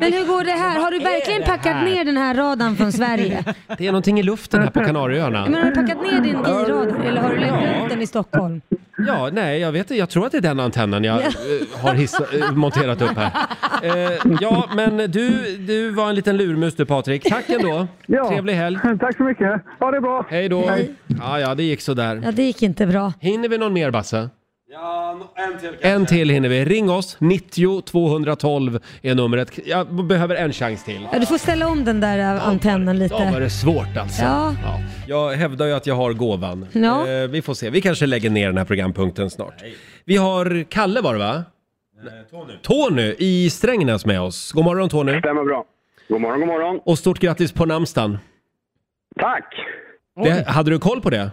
Speaker 2: men, hur går det här? Har du verkligen
Speaker 1: är det
Speaker 2: packat
Speaker 1: här?
Speaker 2: ner den här radan från Sverige?
Speaker 1: Det är någonting i luften här på Kanarieöarna.
Speaker 2: Men har du packat ner din gayradar eller har du lagt upp den i Stockholm?
Speaker 1: Ja, nej, jag vet inte. Jag tror att det är den antennen jag eh, har hissa, eh, monterat upp här. Eh, ja, men du, du var en liten lurmus du Patrik. Tack ändå.
Speaker 11: Ja.
Speaker 1: Trevlig helg.
Speaker 11: Tack så mycket. Ha det bra.
Speaker 1: Hej då.
Speaker 2: Hej.
Speaker 1: Ja, ja, det gick
Speaker 2: Ja,
Speaker 1: sådär.
Speaker 2: det gick inte bra.
Speaker 1: Hinner vi någon mer Basse? En till hinner vi. Ring oss. 90 212 är numret. Jag behöver en chans till.
Speaker 2: Ja, du får ställa om den där eh, antennen
Speaker 1: Ja, var
Speaker 2: lite.
Speaker 1: det svårt alltså.
Speaker 2: Ja.
Speaker 1: Jag hävdar ju att jag har gåvan.
Speaker 2: Ja.
Speaker 1: Eh, vi får se, vi kanske lägger ner den här programpunkten snart. Vi har Kalle var det va?
Speaker 8: Eh,
Speaker 1: Tony. Tony i Strängnäs med oss. God morgon Tony.
Speaker 12: Stämmer bra. God morgon, god morgon.
Speaker 1: Och stort grattis på namnsdagen.
Speaker 12: Tack!
Speaker 1: Det, hade du koll på det?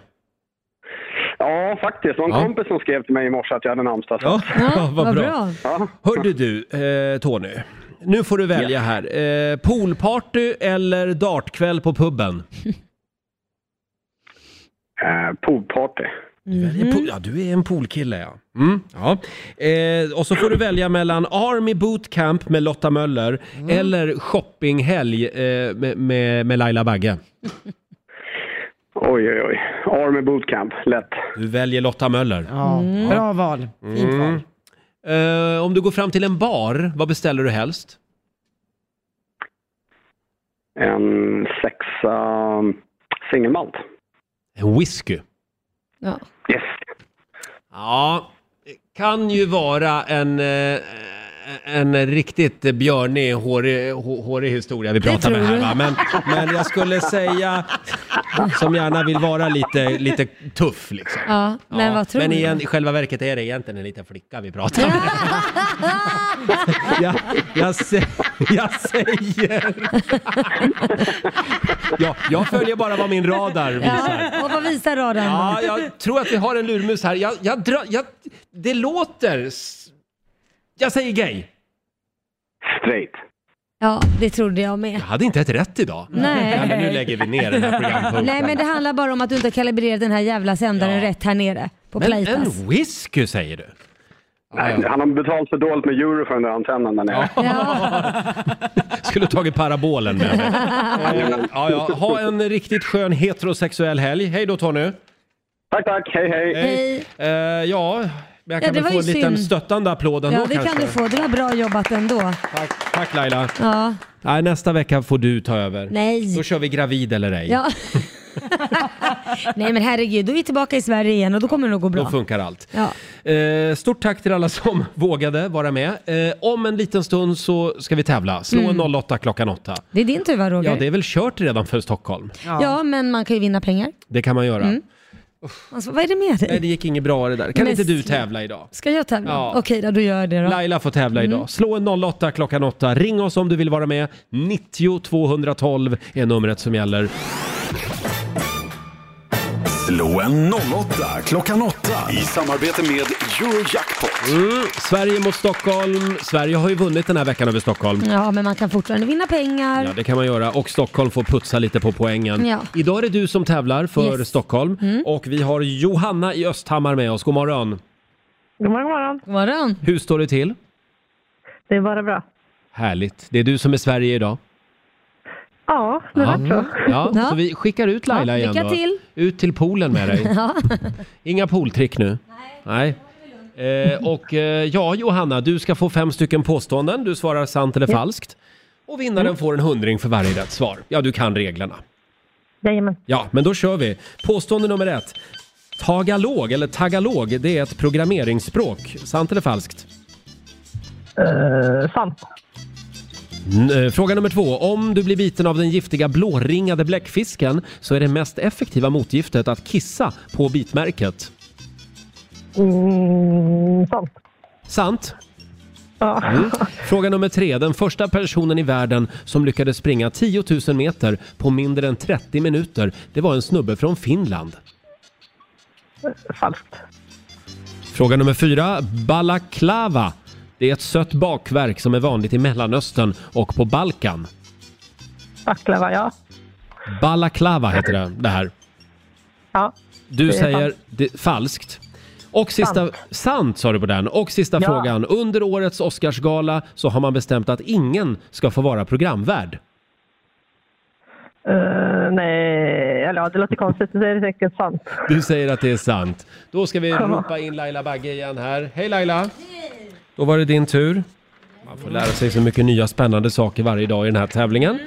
Speaker 12: Ja, faktiskt. Det var en
Speaker 1: Ja.
Speaker 12: kompis som skrev till mig i morse att jag hade namnsdag. så-
Speaker 1: Ja, vad bra.
Speaker 12: Ja.
Speaker 1: Hörde du eh, Tony, nu får du välja här. Eh, poolparty eller dartkväll på puben?
Speaker 12: Eh, Poolparty.
Speaker 1: Väljer
Speaker 13: Mhm.
Speaker 1: pool- Ja, du är en poolkille ja. Mm, ja. Eh, och så får du välja mellan Army Bootcamp med Lotta Möller
Speaker 13: Mm.
Speaker 1: eller shoppinghelg eh, med, med, med Laila Bagge.
Speaker 12: Oj, oj, oj. Army bootcamp. Lätt.
Speaker 1: Du väljer Lotta Möller.
Speaker 13: Ja, Mm. bra val. Fint val.
Speaker 1: Mm. Eh, om du går fram till en bar, vad beställer du helst?
Speaker 12: En sexa um, singelmalt.
Speaker 1: En whisky.
Speaker 2: Ja.
Speaker 12: Yes.
Speaker 1: Ja, kan ju vara en, eh, en riktigt björnig, hårig, hå- hårig historia vi pratar med här va? Men, men jag skulle säga, som gärna vill vara lite, lite tuff liksom.
Speaker 2: Ja, men vad tror
Speaker 1: men
Speaker 2: du?
Speaker 1: igen, i själva verket är det egentligen en liten flicka vi pratar om. jag, jag, sä, jag säger... ja, jag följer bara vad min radar visar.
Speaker 2: Ja, och vad visar radarn?
Speaker 1: Ja, jag tror att vi har en lurmus här. Jag, jag, drar, jag Det låter... s- Jag säger gay.
Speaker 12: Straight.
Speaker 2: Ja, det trodde jag med.
Speaker 1: Jag hade inte ett rätt idag.
Speaker 2: Nej.
Speaker 1: men nu lägger vi ner den här programpunkten.
Speaker 2: Nej, men det handlar bara om att du inte har kalibrerat den här jävla sändaren rätt här nere på
Speaker 1: Men
Speaker 2: Playtas.
Speaker 1: en whisky säger du?
Speaker 12: Nej, Han har betalt för dåligt med euro för den där antennen där nere.
Speaker 1: Skulle tagit parabolen med mig. Eh, ja, ja. Ha en riktigt skön heterosexuell helg. Hej då Tony.
Speaker 12: Tack, tack. Hej, hej.
Speaker 1: Eh, ja, men jag
Speaker 2: Ja,
Speaker 1: kan
Speaker 2: det
Speaker 1: väl
Speaker 2: var
Speaker 1: få en
Speaker 2: ju
Speaker 1: liten
Speaker 2: synd.
Speaker 1: stöttande applåd ändå
Speaker 2: Ja, det
Speaker 1: kanske.
Speaker 2: kan du få. Det var bra jobbat ändå.
Speaker 1: Tack Laila.
Speaker 2: Ja.
Speaker 1: Nej, nästa vecka får du ta över.
Speaker 2: Nej.
Speaker 1: Då kör vi gravid eller ej.
Speaker 2: Ja. Nej men herregud, då är vi tillbaka i Sverige igen och då kommer det nog gå
Speaker 1: Då
Speaker 2: bra.
Speaker 1: funkar allt.
Speaker 2: Ja.
Speaker 1: Eh, stort tack till alla som vågade vara med. Eh, om en liten stund så ska vi tävla. Slå en
Speaker 2: Mm.
Speaker 1: 08 klockan 8.
Speaker 2: Det är din tur va Roger?
Speaker 1: Ja, det är väl kört redan för Stockholm.
Speaker 2: ja. men man kan ju vinna pengar.
Speaker 1: Det kan man göra.
Speaker 2: Mm. Alltså, vad är det med dig?
Speaker 1: Nej, det gick inget bra det där. Kan
Speaker 2: Men
Speaker 1: inte du
Speaker 2: snälla.
Speaker 1: tävla idag?
Speaker 2: Ska jag tävla?
Speaker 1: Ja.
Speaker 2: Okej då, då gör jag det då. Mm.
Speaker 1: Laila får tävla idag. Slå en 08 klockan 8. Ring oss om du vill vara med. 90 212 är numret som gäller.
Speaker 4: Slå en 08 klockan 8 i samarbete med Eurojackpot.
Speaker 1: Mm. Sverige mot Stockholm. Sverige har ju vunnit den här veckan över Stockholm.
Speaker 2: Ja, men man kan fortfarande vinna pengar.
Speaker 1: Ja, det kan man göra. Och Stockholm får putsa lite på poängen.
Speaker 2: Ja.
Speaker 1: Idag är det du som tävlar för
Speaker 2: Yes. Mm.
Speaker 1: Stockholm. Och vi har Johanna i Östhammar med oss. God morgon.
Speaker 6: God morgon, god morgon.
Speaker 2: God morgon.
Speaker 1: Hur står det till?
Speaker 6: Det är bara bra.
Speaker 1: Härligt. Det är du som är Sverige idag.
Speaker 6: Ja, det
Speaker 1: Ja. Mm.
Speaker 6: var så.
Speaker 1: Ja, så vi skickar ut Laila
Speaker 6: Ja,
Speaker 1: igen
Speaker 6: lycka
Speaker 1: då.
Speaker 6: till.
Speaker 1: Ut till poolen med dig. Inga pooltrick nu. Nej. Eh, och eh, ja, Johanna, du ska få fem stycken påståenden. Du svarar sant eller
Speaker 6: Ja.
Speaker 1: falskt. Och
Speaker 5: Mm.
Speaker 1: vinnaren får en hundring för varje rätt svar. Ja, du kan reglerna.
Speaker 6: Jajamän.
Speaker 1: Ja, men då kör vi. Påstående nummer ett. Tagalog, eller tagalog, det är ett programmeringsspråk. Sant eller falskt?
Speaker 6: Eh, sant.
Speaker 1: N- eh, Fråga nummer två. Om du blir biten av den giftiga blåringade bläckfisken så är det mest effektiva motgiftet att kissa på bitmärket.
Speaker 6: Mm, sant.
Speaker 1: Sant? Mm. Fråga nummer tre. Den första personen i världen som lyckades springa 10 000 meter på mindre än 30 minuter, det var en snubbe från Finland.
Speaker 6: Falskt.
Speaker 1: Fråga nummer fyra. Balaklava. Det är ett sött bakverk som är vanligt i Mellanöstern och på Balkan.
Speaker 6: Baklava, ja.
Speaker 1: Balaklava heter det, det här.
Speaker 6: ja.
Speaker 1: Du
Speaker 6: det är
Speaker 1: säger
Speaker 6: sant.
Speaker 1: det, falskt. Och sista, sant.
Speaker 6: Sant.
Speaker 1: sa du på den. Och sista
Speaker 6: Ja.
Speaker 1: frågan. Under årets Oscarsgala så har man bestämt att ingen ska få vara programvärd.
Speaker 6: Eh, nej, eller ja, det låter konstigt. Det är säkert sant.
Speaker 1: Du säger att det är sant. Då ska vi
Speaker 6: Ja.
Speaker 1: ropa in Laila Bagge igen här. Hej Laila! Då var det din tur. Man får lära sig så mycket nya spännande saker varje dag i den här tävlingen.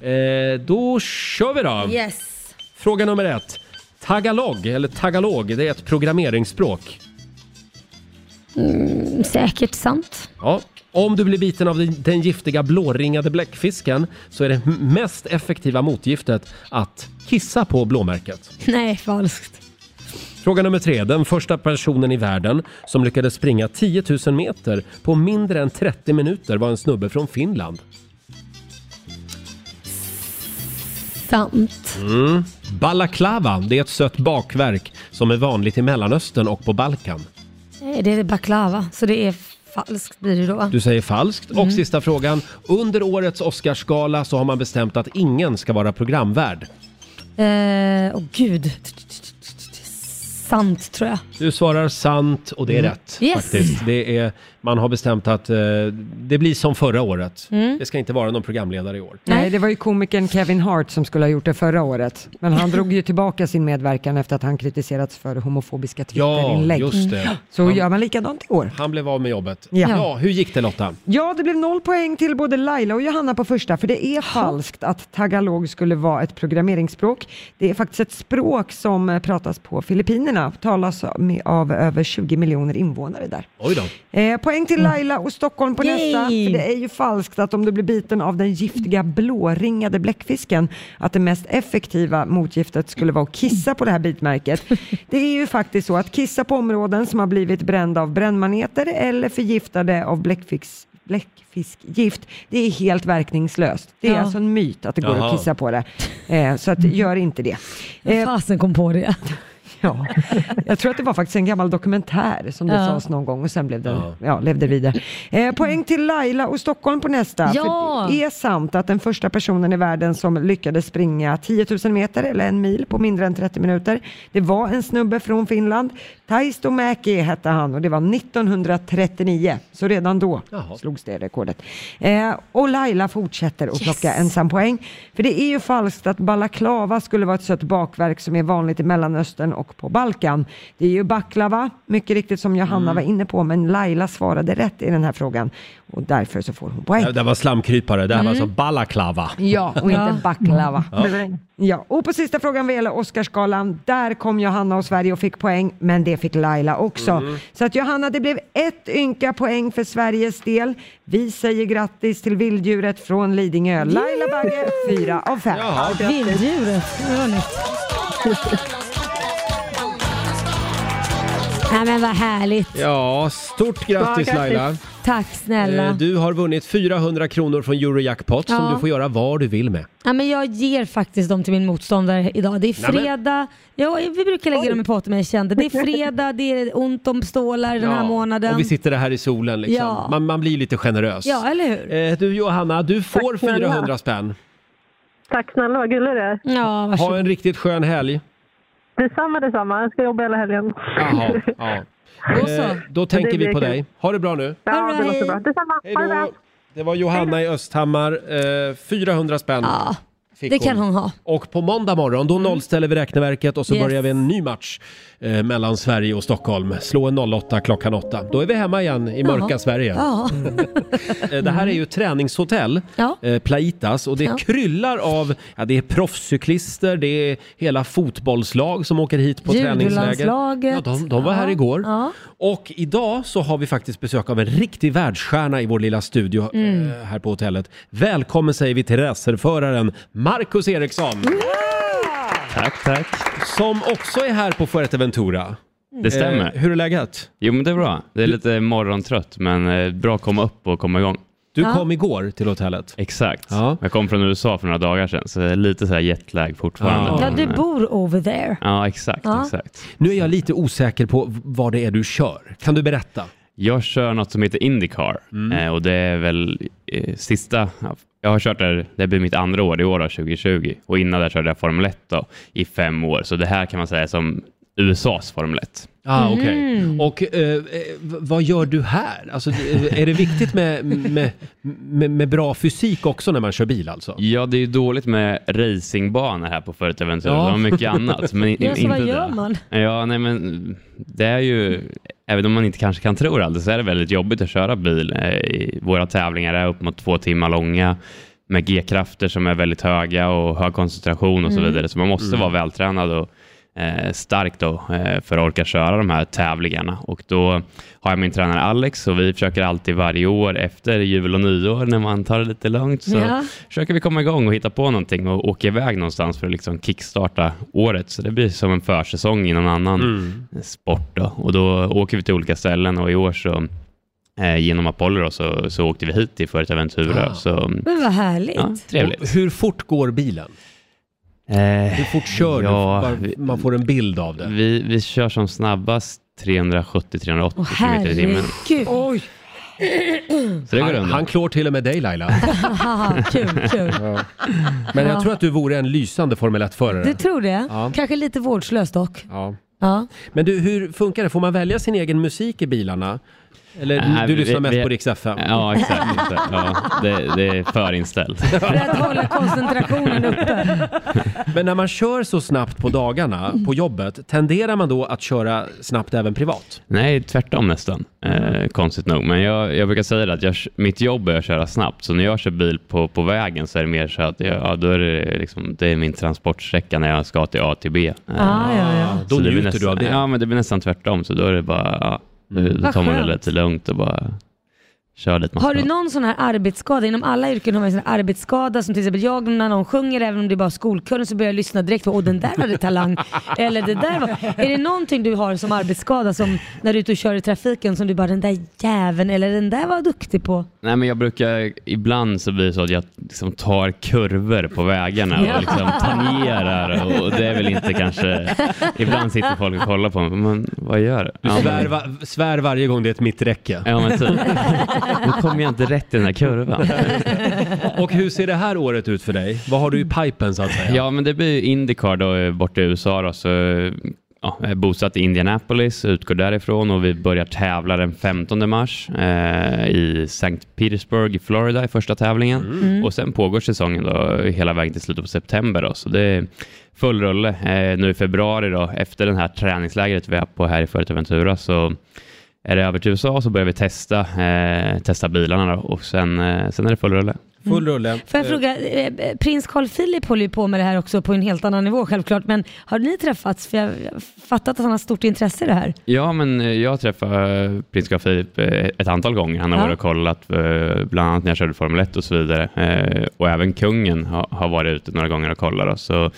Speaker 1: Eh, då kör vi då!
Speaker 2: Yes.
Speaker 1: Fråga nummer ett. Tagalog, eller tagalog, det är ett programmeringsspråk.
Speaker 2: Mm, säkert sant.
Speaker 1: Ja. Om du blir biten av den- den giftiga blåringade bläckfisken så är det m- mest effektiva motgiftet att kissa på blåmärket.
Speaker 2: Nej, falskt.
Speaker 1: Fråga nummer tre. Den första personen i världen som lyckades springa 10 000 meter på mindre än 30 minuter var en snubbe från Finland.
Speaker 2: Sant.
Speaker 1: Mm. Balaklava, det är ett sött bakverk som är vanligt i Mellanöstern och på Balkan.
Speaker 2: Nej, det är baklava, så det är falskt blir det då. va?
Speaker 1: Du säger falskt. Och
Speaker 2: Mm.
Speaker 1: sista frågan. Under årets Oscarsgala så har man bestämt att ingen ska vara programvärd.
Speaker 2: Eh, Åh gud. Sant tror jag.
Speaker 1: Du svarar sant och det är
Speaker 2: Mm.
Speaker 1: rätt.
Speaker 2: Yes.
Speaker 1: Faktiskt. Det är, man har bestämt att eh, det blir som förra året.
Speaker 3: Mm.
Speaker 1: Det ska inte vara någon programledare i år.
Speaker 3: Nej, det var ju komikern Kevin Hart som skulle ha gjort det förra året. Men han drog ju tillbaka sin medverkan efter att han kritiserats för homofobiska Twitterinlägg.
Speaker 1: just det.
Speaker 3: Mm. Så
Speaker 1: Han-
Speaker 3: gör man likadant i år.
Speaker 1: Han blev av med jobbet. Ja.
Speaker 3: Ja.
Speaker 1: hur gick det Lotta?
Speaker 3: Ja, det blev noll poäng till både Laila och Johanna på första, för det är falskt att tagalog skulle vara ett programmeringsspråk. Det är faktiskt ett språk som eh, pratas på Filippinerna, talas med- av över 20 miljoner invånare där.
Speaker 1: Oj då.
Speaker 3: Eh, poäng till Laila och Stockholm på
Speaker 5: Yay!
Speaker 3: nästa. För det är ju falskt att om du blir biten av den giftiga blåringade bläckfisken, att det mest effektiva motgiftet skulle vara att kissa på det här bitmärket. Det är ju faktiskt så att kissa på områden som har blivit brända av brännmaneter eller förgiftade av bläckfisk bläckfiskgift, det är helt verkningslöst. Det är
Speaker 2: Ja.
Speaker 3: alltså en myt att det går
Speaker 2: Jaha.
Speaker 3: att kissa på det. Eh, så att, gör inte det. Eh,
Speaker 2: Vem fasen kom på det?
Speaker 3: Ja, jag tror att det var faktiskt en gammal dokumentär som det
Speaker 2: Ja.
Speaker 3: sades någon gång och sen blev den, ja. levde vidare. Eh, poäng till Laila och Stockholm på nästa.
Speaker 2: Ja.
Speaker 3: För det är sant att den första personen i världen som lyckades springa 10 000 meter eller en mil på mindre än 30 minuter, det var en snubbe från Finland. Taisto Mäki hette han och det var 1939, så redan då slogs det rekordet. Eh, och Laila fortsätter att plocka ensam poäng. För det är ju falskt att balaklava skulle vara ett sött bakverk som är vanligt i Mellanöstern och på Balkan. Det är ju baklava, mycket riktigt som Johanna var inne på, men Laila svarade rätt i den här frågan och därför så får hon poäng.
Speaker 1: Det där var slamkrypare, det här var
Speaker 3: Mm.
Speaker 1: alltså balaklava.
Speaker 3: Ja, och inte baklava.
Speaker 1: Ja.
Speaker 3: Ja, och på sista frågan vad gäller Oscarsgalan, där kom Johanna och Sverige och fick poäng, men det fick Laila också.
Speaker 5: Mm.
Speaker 3: Så att Johanna, det blev ett ynka poäng för Sveriges del. Vi säger grattis till vilddjuret från Lidingö, Laila Bagge, fyra av fem.
Speaker 2: Jaha. Vilddjuret, Nej men vad härligt.
Speaker 1: Ja, stort grattis Laila.
Speaker 2: Tack snälla.
Speaker 1: Eh, Du har vunnit 400 kronor från Eurojackpot som
Speaker 2: Ja.
Speaker 1: du får göra vad du vill med.
Speaker 2: Ja, men jag ger faktiskt dem till min motståndare idag. Det är
Speaker 1: Nämen.
Speaker 2: fredag. Ja, vi brukar lägga dem i potten men jag kände det är fredag, det är ont om stålar den här månaden.
Speaker 1: Och vi sitter här i solen liksom.
Speaker 2: Ja.
Speaker 1: Man, man blir lite generös.
Speaker 2: Ja, eller hur?
Speaker 1: Eh, Du Johanna, du får
Speaker 2: snälla.
Speaker 1: 400 spänn.
Speaker 6: Tack snälla, vad gullig du är.
Speaker 2: Ja,
Speaker 1: Ha en riktigt skön helg.
Speaker 6: Detsamma, detsamma. Jag ska jobba hela helgen.
Speaker 1: Jaha, ja.
Speaker 6: Då så.
Speaker 1: Eh, Då
Speaker 6: Det
Speaker 1: tänker vi
Speaker 6: blir
Speaker 1: på
Speaker 6: kul.
Speaker 1: dig. Ha det bra nu.
Speaker 6: Ja, det låter bra. Detsamma. Ha det bra.
Speaker 1: Det var Johanna i Östhammar, eh, 400 spänn. Fick
Speaker 2: Det kan hon ha.
Speaker 1: Och på måndag morgon, då nollställer vi räkneverket och så
Speaker 2: Yes.
Speaker 1: börjar vi en ny match eh, mellan Sverige och Stockholm. Slå en 08 klockan 8. Då är vi hemma igen i mörka
Speaker 2: Jaha.
Speaker 1: Sverige.
Speaker 2: Ja.
Speaker 1: Eh, Det här är ju ett träningshotell,
Speaker 2: Mm. Ja.
Speaker 1: eh, Plaitas, och det
Speaker 2: Ja.
Speaker 1: kryllar av, ja det är proffscyklister, det är hela fotbollslag som åker hit på träningsläger.
Speaker 2: Judolandslaget.
Speaker 1: Ja, de, de var här
Speaker 2: Ja.
Speaker 1: igår.
Speaker 2: Ja.
Speaker 1: Och idag så har vi faktiskt besök av en riktig världsstjärna i vår lilla studio
Speaker 2: Mm.
Speaker 1: eh, här på hotellet. Välkommen säger vi till racerföraren Marcus Eriksson.
Speaker 14: Tack, tack.
Speaker 1: Som också är här på Fuerteventura.
Speaker 14: Mm. Det stämmer.
Speaker 1: Eh, hur är läget?
Speaker 14: Jo, men det är bra. Det är lite morgontrött, men eh, bra att komma upp och komma igång.
Speaker 1: Du Ja. kom igår till hotellet?
Speaker 14: Exakt. Jag kom från USA för några dagar sedan, så det är lite så här jetlag fortfarande.
Speaker 2: Ja,
Speaker 14: men,
Speaker 1: Mm.
Speaker 2: du
Speaker 14: eh,
Speaker 2: bor over there.
Speaker 14: Ja, exakt,
Speaker 2: Ja.
Speaker 14: exakt.
Speaker 1: Nu är jag lite osäker på v- vad det är du kör. Kan du berätta?
Speaker 14: Jag kör något som heter Indycar
Speaker 1: Mm.
Speaker 14: eh, och det är väl eh, sista... Jag har kört där, det blir mitt andra år i år, då, 2020. Och innan där körde jag Formel 1 då, i fem år. Så det här kan man säga är som USAs Formel 1.
Speaker 1: Ah, okej. Och eh, eh, v- vad gör du här? Alltså, eh, är det viktigt med, med, med, med bra fysik också när man kör bil alltså?
Speaker 14: Ja, det är ju dåligt med racingbanor här på Fuerteventura.
Speaker 1: Ja.
Speaker 14: De har mycket annat. Men i-
Speaker 2: Ja, så
Speaker 14: inte
Speaker 2: vad gör
Speaker 14: det.
Speaker 2: man?
Speaker 14: Ja, nej, men det är ju, även om man inte kanske kan tro det alldeles, så är det väldigt jobbigt att köra bil. Eh, Våra tävlingar är upp mot två timmar långa med G-krafter som är väldigt höga och hög koncentration och så
Speaker 8: Mm.
Speaker 14: vidare. Så man måste
Speaker 8: Mm.
Speaker 14: vara vältränad och eh, stark då, eh, för att orka köra de här tävlingarna. Och då har jag min tränare Alex och vi försöker alltid varje år efter jul och nyår när man tar det lite lugnt så
Speaker 2: Ja.
Speaker 14: försöker vi komma igång och hitta på någonting och åka iväg någonstans för att liksom kickstarta året. Så det blir som en försäsong i någon annan sport. Då. Och då åker vi till olika ställen och i år så eh, genom Apollo då, så, så åkte vi hit till Fuerteventura.
Speaker 2: Ah.
Speaker 14: Så, mm.
Speaker 1: Mm.
Speaker 2: Men vad härligt.
Speaker 14: ja, trevligt.
Speaker 1: Hur fort går bilen?
Speaker 14: Hur
Speaker 1: fort kör du? Bara man får en bild av det.
Speaker 14: Vi, vi kör som snabbast 370-380
Speaker 2: Åh
Speaker 14: kilometer i timmen.
Speaker 2: herregud. Oj.
Speaker 14: Så det går
Speaker 1: han,
Speaker 14: undan.
Speaker 1: han klår till och med dig Laila.
Speaker 2: kul, kul.
Speaker 1: Ja. Men jag
Speaker 2: Ja.
Speaker 1: tror att du vore en lysande Formel 1-förare.
Speaker 2: Du tror det?
Speaker 1: Eh, Ja.
Speaker 2: Kanske lite vårdslöst dock.
Speaker 1: Ja.
Speaker 2: Ja.
Speaker 1: Men du, hur funkar det? Får man välja sin egen musik i bilarna? Eller
Speaker 14: Nej,
Speaker 1: du
Speaker 14: vi-
Speaker 1: lyssnar mest
Speaker 14: vi-
Speaker 1: på Rix FM?
Speaker 14: Ja, exakt. exakt. Ja, det, det är förinställt.
Speaker 2: För att hålla koncentrationen uppe.
Speaker 1: Men när man kör så snabbt på dagarna på jobbet, tenderar man då att köra snabbt även privat?
Speaker 14: Nej, tvärtom nästan. Eh, konstigt nog. Men jag, jag brukar säga det att jag, mitt jobb är att köra snabbt. Så när jag kör bil på, på vägen så är det mer så att jag, ja, då är det, liksom, det är min transportsträcka när jag ska till A till B. Eh,
Speaker 2: Ah, ja, ja.
Speaker 14: så
Speaker 1: Då
Speaker 14: det blir
Speaker 1: njuter
Speaker 14: nästan,
Speaker 1: du av det. Mm.
Speaker 14: Ja, men det blir nästan tvärtom. Så då är det bara, ja, då, då
Speaker 2: Vad
Speaker 14: tar man det
Speaker 2: skönt.
Speaker 14: lite lugnt och bara kör dit man
Speaker 2: Har
Speaker 14: ska.
Speaker 2: du någon sån här arbetsskada? Inom alla yrken har man en sån här arbetsskada som till exempel jag när någon sjunger, även om det är bara skolkören så börjar jag lyssna direkt på åh den där hade talang. Eller det där var... Är det någonting du har som arbetsskada som när du är ute och kör i trafiken som du bara den där jäveln eller den där var duktig på?
Speaker 14: Nej, men jag brukar, ibland så blir det så att jag liksom tar kurvor på vägarna
Speaker 2: Ja.
Speaker 14: och liksom tangerar och det är väl inte kanske, ibland sitter folk och kollar på mig, men vad gör du?
Speaker 1: Du
Speaker 14: Ja, men-
Speaker 1: svär, va, svär varje gång det är ett mitträcke.
Speaker 14: Ja, men typ. Nu kommer jag inte rätt i den här kurvan.
Speaker 1: Och hur ser det här året ut för dig? Vad har du i pipen så att säga?
Speaker 14: Ja, men det blir ju Indycar då eh, borta i USA då, så eh, ja, jag är bosatt i Indianapolis, utgår därifrån och vi börjar tävla den 15 mars eh, i St. Petersburg i Florida i första tävlingen
Speaker 8: Mm.
Speaker 14: och sen pågår säsongen då hela vägen till slutet på september då, så det är full rulle. Eh, nu i februari då, efter den här träningslägret vi är på här i Fuerteventura så är det över till USA så börjar vi testa, eh, testa bilarna då, och sen, eh, sen är det full rulle.
Speaker 1: Full rulle.
Speaker 2: Mm. Får jag fråga, eh, eh, prins Carl Philip håller ju på med det här också på en helt annan nivå självklart, men har ni träffats? För jag har fattat att han har stort intresse i det här.
Speaker 14: Ja, men eh, jag träffade eh, prins Carl Philip eh, ett antal gånger. Han har
Speaker 2: Ja.
Speaker 14: varit och kollat, eh, bland annat när jag körde Formel 1 och så vidare. Eh, Och även kungen har- har varit ute några gånger och kollat. då. Så eh,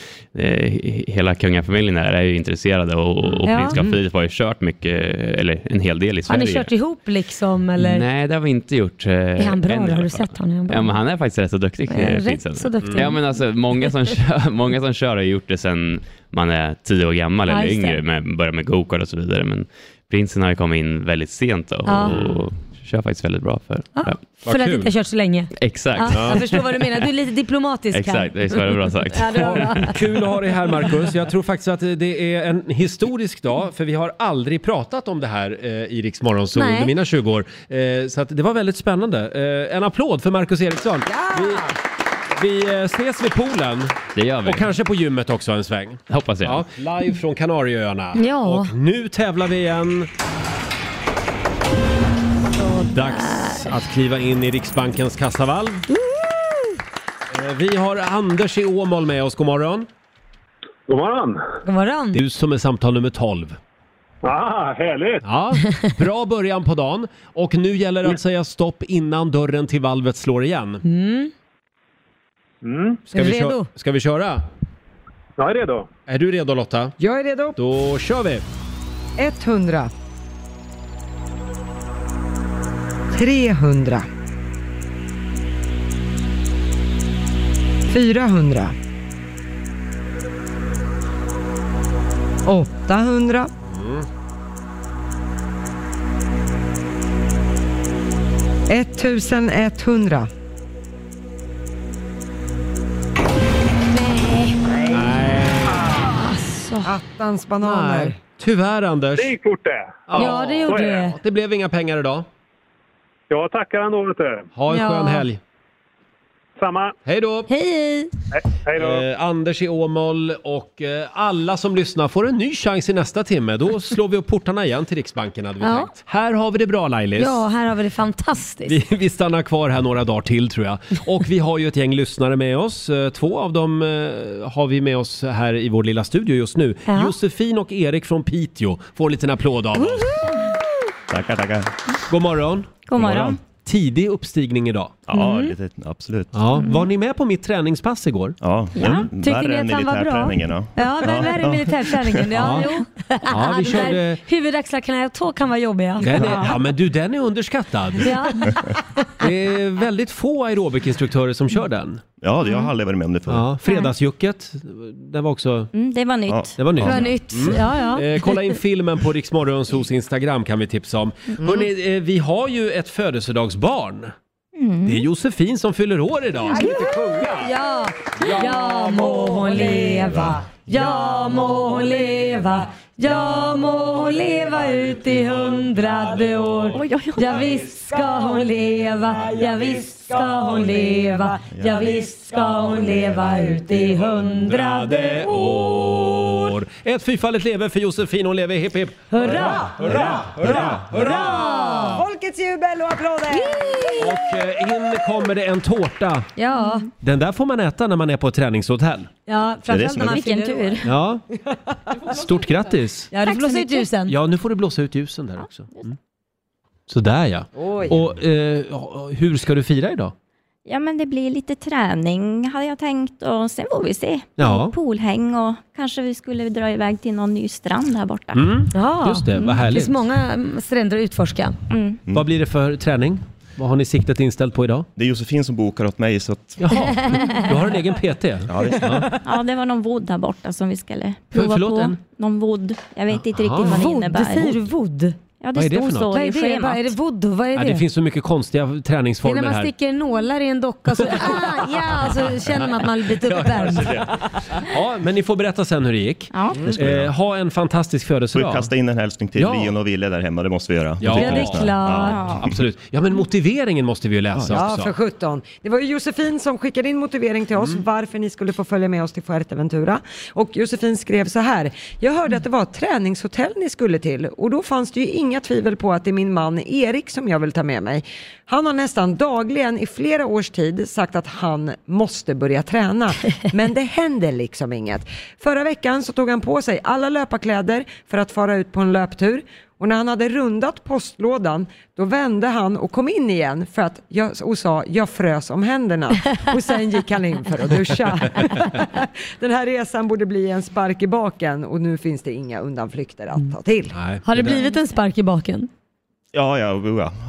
Speaker 14: he- hela kungafamiljen här är ju intresserade och, och
Speaker 2: Ja.
Speaker 14: prins Carl
Speaker 2: Mm.
Speaker 14: Philip har ju kört mycket, eh, eller en hel del i
Speaker 2: Har
Speaker 14: Sverige.
Speaker 2: ni kört ihop liksom eller?
Speaker 14: Nej, det har vi inte gjort. eh,
Speaker 2: Är han bra? Har du sett honom? Är han bra?
Speaker 14: Ja, men han är faktiskt rätt så duktig.
Speaker 2: Ja,
Speaker 14: eh,
Speaker 2: rätt
Speaker 14: prinsen.
Speaker 2: så duktig.
Speaker 14: Ja, men alltså, många, som kör, många som kör har ju gjort det sedan man är tio år gammal
Speaker 2: Ja,
Speaker 14: eller
Speaker 2: just det.
Speaker 14: yngre, med, börjar med gokart och så vidare. Men prinsen har ju kommit in väldigt sent då,
Speaker 2: Ja.
Speaker 14: och kör faktiskt väldigt bra för ja.
Speaker 2: För att inte ha kört så länge.
Speaker 14: Exakt.
Speaker 2: Ja, jag förstår vad du menar, du är lite diplomatisk här.
Speaker 14: Exakt, det är så det är bra sagt.
Speaker 2: Ja, det var bra.
Speaker 1: Kul att ha dig här Marcus. Jag tror faktiskt att det är en historisk dag för vi har aldrig pratat om det här eh, i Rix Morgon Zoo
Speaker 2: Nej.
Speaker 1: under mina 20 år. Eh, så att det var väldigt spännande. Eh, en applåd för Marcus Eriksson. Vi, vi eh, ses vid poolen.
Speaker 14: Det gör vi.
Speaker 1: Och kanske på gymmet också en sväng.
Speaker 14: Hoppas jag.
Speaker 1: Ja, live från Kanarieöarna.
Speaker 2: Ja.
Speaker 1: Och nu tävlar vi igen. Dags att kliva in i Riksbankens kassavalv. Eh, Vi har Anders i Åmål med oss. God morgon.
Speaker 8: God morgon.
Speaker 2: God morgon.
Speaker 1: Du som är samtal nummer 12.
Speaker 8: Ah, härligt!
Speaker 1: Ja, bra början på dagen. Och nu gäller det att säga stopp innan dörren till valvet slår igen.
Speaker 2: Mm.
Speaker 1: Ska, vi
Speaker 2: Redo?
Speaker 1: Kö- ska vi köra?
Speaker 8: Jag är redo.
Speaker 1: Är du redo Lotta?
Speaker 3: Jag är redo.
Speaker 1: Då kör vi!
Speaker 3: 100. 300. 400. 800.
Speaker 15: Mm.
Speaker 3: 1100. Attans bananer.
Speaker 1: Nej. Tyvärr Anders.
Speaker 8: Det gick fort det.
Speaker 3: Ja, det gjorde
Speaker 8: Så är
Speaker 3: det.
Speaker 1: Det blev inga pengar idag.
Speaker 8: Jag tackar ändå vet du.
Speaker 1: Ha en
Speaker 8: Ja.
Speaker 1: skön helg.
Speaker 8: Samma.
Speaker 1: Hej då!
Speaker 2: Hej!
Speaker 8: Hej då.
Speaker 1: Eh, Anders i Åmål och eh, alla som lyssnar får en ny chans i nästa timme. Då slår vi upp portarna igen till Riksbanken hade vi
Speaker 2: Ja.
Speaker 1: tänkt. Här har vi det bra Lailis.
Speaker 2: Ja, här har vi det fantastiskt.
Speaker 1: Vi, vi stannar kvar här några dagar till tror jag. Och vi har ju ett gäng lyssnare med oss. Eh, Två av dem eh, har vi med oss här i vår lilla studio just nu.
Speaker 2: Ja.
Speaker 1: Josefin och Erik från Piteå får en liten applåd av oss.
Speaker 5: Tackar, tackar.
Speaker 1: God morgon.
Speaker 2: God morgon.
Speaker 1: Tidig uppstigning idag.
Speaker 5: Ja,
Speaker 2: Mm.
Speaker 5: lite, absolut.
Speaker 1: Ja, var ni med på mitt träningspass igår?
Speaker 5: Ja,
Speaker 2: Ja, tyckte
Speaker 5: Mm, värre
Speaker 2: ni
Speaker 5: än
Speaker 2: att han var bra?
Speaker 5: militärträningen, ja.
Speaker 2: Ja, men värre än militärträningen. Ja,
Speaker 1: Ja.
Speaker 2: jo.
Speaker 1: Ja, vi
Speaker 2: Den där
Speaker 1: körde-
Speaker 2: Huvud, axlar, knä och tå kan vara jobbiga.
Speaker 1: Den är, ja men du, den är underskattad.
Speaker 2: Ja.
Speaker 1: Det är väldigt få aerobikinstruktörer som kör den.
Speaker 5: Ja, det- jag har aldrig varit med om det förr.
Speaker 1: Ja, fredagsjucket, det var också...
Speaker 2: Mm, det var nytt.
Speaker 1: Ja, det var nytt.
Speaker 2: Det var nytt.
Speaker 1: Mm.
Speaker 2: Ja, ja.
Speaker 1: Eh, kolla in filmen på Riksmorgonsos Instagram kan vi tipsa om.
Speaker 2: Mm.
Speaker 1: Hörrni, eh, vi har ju ett födelsedagsbarn.
Speaker 2: Mm.
Speaker 1: Det är Josefin som fyller år idag.
Speaker 2: Ja, ja må hon leva, ja må hon leva, ja må hon leva ut i hundrade år. Ja visst ska hon leva, ja visst ska hon leva, ja visst ska hon leva ut i hundrade
Speaker 1: Hundrade
Speaker 2: år.
Speaker 1: år. Ett fyrfaldigt leve för Josefin, hon lever hipp hipp.
Speaker 2: Hurra,
Speaker 1: hurra, hurra,
Speaker 3: Hurra! Folkets jubel och applåder!
Speaker 1: Och eh, in kommer det en tårta.
Speaker 2: Ja,
Speaker 1: Den där får man äta när man är på ett träningshotell.
Speaker 2: ja framförallt när man
Speaker 1: snyggt?
Speaker 2: fyller tur.
Speaker 1: Ja. Stort grattis!
Speaker 2: Ja, du får blåsa ut ljusen.
Speaker 1: Ja, nu får du blåsa ut ljusen där också. Mm. Sådär ja.
Speaker 16: Oj.
Speaker 1: Och eh, hur ska du fira idag?
Speaker 16: Ja, men det blir lite träning hade jag tänkt och sen får vi se.
Speaker 1: Ja.
Speaker 16: Poolhäng och kanske vi skulle dra iväg till någon ny strand här borta.
Speaker 1: Mm. Just det, vad härligt.
Speaker 2: många mm, stränder att utforska.
Speaker 16: Mm.
Speaker 1: Vad blir det för träning? Vad har ni siktet inställt på idag?
Speaker 5: Det är Josefin som bokar åt mig, så att...
Speaker 1: Jaha, du har en egen PT?
Speaker 5: Ja, visst.
Speaker 16: Ja, det var någon vodd där borta som vi skulle prova
Speaker 1: förlåt,
Speaker 16: på.
Speaker 1: en?
Speaker 16: Någon vodd. Jag vet inte
Speaker 1: Jaha.
Speaker 16: riktigt vad det
Speaker 1: Vodd,
Speaker 16: innebär.
Speaker 1: säger du
Speaker 2: vodd?
Speaker 16: Ja,
Speaker 1: Vad
Speaker 16: det
Speaker 1: är det
Speaker 16: stod
Speaker 1: för något?
Speaker 16: så
Speaker 2: Vad
Speaker 16: i
Speaker 2: är det?
Speaker 16: schemat.
Speaker 2: Vad är det voodoo? Vad är
Speaker 1: Ja,
Speaker 2: det?
Speaker 1: det finns så mycket konstiga
Speaker 2: Det är när
Speaker 1: träningsformer
Speaker 2: man
Speaker 1: här.
Speaker 2: sticker nålar i en docka så, ah, ja, så känner man att man blir upp
Speaker 1: alltså.
Speaker 2: värme.
Speaker 1: Ja, men ni får berätta sen hur det gick.
Speaker 2: Ja.
Speaker 5: Det ska vi göra.
Speaker 1: Eh, ha en fantastisk
Speaker 5: Får vi
Speaker 1: födelsedag.
Speaker 5: kasta in en hälsning till
Speaker 1: Ja.
Speaker 5: Lion och Ville där hemma? Det måste vi göra.
Speaker 1: Ja.
Speaker 5: Till
Speaker 1: Ja, det är
Speaker 5: lyssnarna.
Speaker 1: klart.
Speaker 5: Ja.
Speaker 1: Absolut. Ja, men motiveringen måste vi ju läsa
Speaker 3: Ja,
Speaker 1: också.
Speaker 3: för 17. Det var ju Josefin som skickade in motivering till
Speaker 1: Mm.
Speaker 3: oss varför ni skulle få följa med oss till Fuerteventura. Och Josefin skrev så här. Jag hörde att det var ett träningshotell ni skulle till och då fanns det ju inga tvivel på att det är min man Erik som jag vill ta med mig. Han har nästan dagligen i flera års tid sagt att han måste börja träna. Men det händer liksom inget. Förra veckan så tog han på sig alla löparkläder för att fara ut på en löptur och när han hade rundat postlådan, då vände han och kom in igen för att jag, och sa jag frös om händerna. Och sen gick han in för att duscha. Den här resan borde bli en spark i baken och nu finns det inga undanflykter att ta till.
Speaker 2: Har Mm. det blivit en spark i baken?
Speaker 5: Ja, ja, ja. Här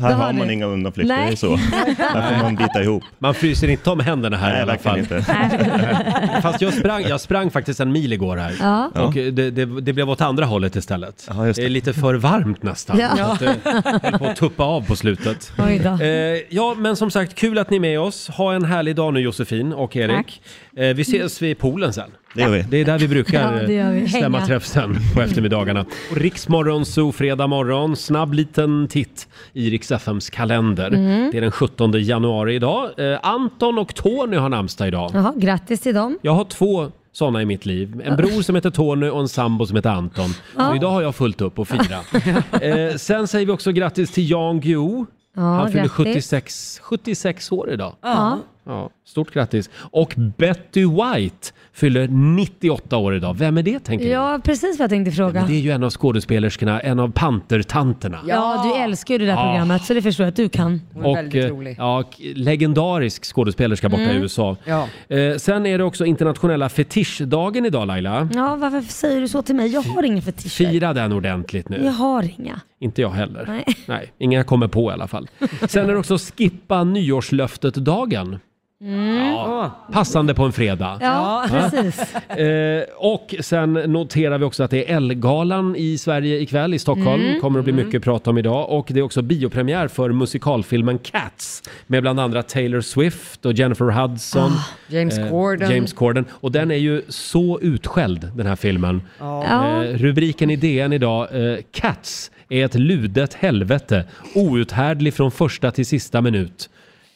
Speaker 2: Det har
Speaker 5: har man
Speaker 2: du.
Speaker 5: inga undanflykter, det
Speaker 2: Nej.
Speaker 5: är så. Där får man bita ihop.
Speaker 1: Man fryser inte om händerna här
Speaker 5: Nej,
Speaker 1: i alla
Speaker 5: verkligen
Speaker 1: fall.
Speaker 5: inte.
Speaker 1: Fast jag sprang, jag sprang faktiskt en mil igår här.
Speaker 2: Ja.
Speaker 1: Och det, det, det blev åt andra hållet istället. det. är lite för varmt nästan.
Speaker 2: Ja.
Speaker 1: Så att eh, det höll på att tuppa av på slutet.
Speaker 2: Oj då.
Speaker 1: Eh, ja, men som sagt, kul att ni är med oss. Ha en härlig dag nu Josefin och Erik. Eh, vi ses vid poolen sen.
Speaker 8: Det gör vi.
Speaker 1: Det är där vi brukar
Speaker 8: Ja, det gör vi.
Speaker 1: eh, stämma
Speaker 8: Hänga.
Speaker 1: träff sen på eftermiddagarna. Och Riksmorgon, så fredag morgon. Snabb liten titt i Rix FMs kalender.
Speaker 2: Mm.
Speaker 1: Det är den 17 januari idag. Eh, Anton och Tony har namnsdag idag.
Speaker 2: Jaha, grattis till dem.
Speaker 1: Jag har två sådana i mitt liv. En bror som heter Tony och en sambo som heter Anton.
Speaker 2: Ja.
Speaker 1: Och idag har jag fullt upp och fira. eh, sen säger vi också grattis till Jan Guillou.
Speaker 2: Ja,
Speaker 1: Han fyller
Speaker 2: grattis.
Speaker 1: 76, 76 år idag.
Speaker 2: Ja.
Speaker 1: Ja, stort grattis. Och Betty White fyller 98 år idag. Vem är det tänker du?
Speaker 2: Ja, precis vad jag tänkte fråga.
Speaker 1: Det är ju en av skådespelerskorna, en av pantertanterna.
Speaker 2: Ja, du älskar ju det där
Speaker 1: Ja.
Speaker 2: programmet så det förstår jag att du kan.
Speaker 1: Och eh, ja, k- legendarisk skådespelerska borta i
Speaker 2: Mm.
Speaker 1: USA.
Speaker 2: Ja.
Speaker 1: Eh, sen är det också internationella fetischdagen idag Laila.
Speaker 2: Ja, varför säger du så till mig? Jag har inga fetischer.
Speaker 1: Fira den ordentligt nu.
Speaker 2: Jag har inga.
Speaker 1: Inte jag heller.
Speaker 2: Nej.
Speaker 1: Nej, inga jag kommer på i alla fall. Sen är det också skippa nyårslöftet-dagen.
Speaker 2: Mm.
Speaker 1: Ja. Passande på en fredag.
Speaker 2: Ja, precis.
Speaker 1: Eh, och sen noterar vi också att det är Ellegalan i Sverige ikväll i Stockholm.
Speaker 2: Mm.
Speaker 1: Kommer att bli mycket prat om idag. Och det är också biopremiär för musikalfilmen Cats med bland andra Taylor Swift och Jennifer Hudson.
Speaker 2: Ah,
Speaker 1: Eh,
Speaker 3: James Corden.
Speaker 1: James Corden. Och den är ju så utskälld den här filmen.
Speaker 3: Ja.
Speaker 1: Eh, rubriken i DN idag, eh, Cats är ett ludet helvete. Outhärdlig från första till sista minut.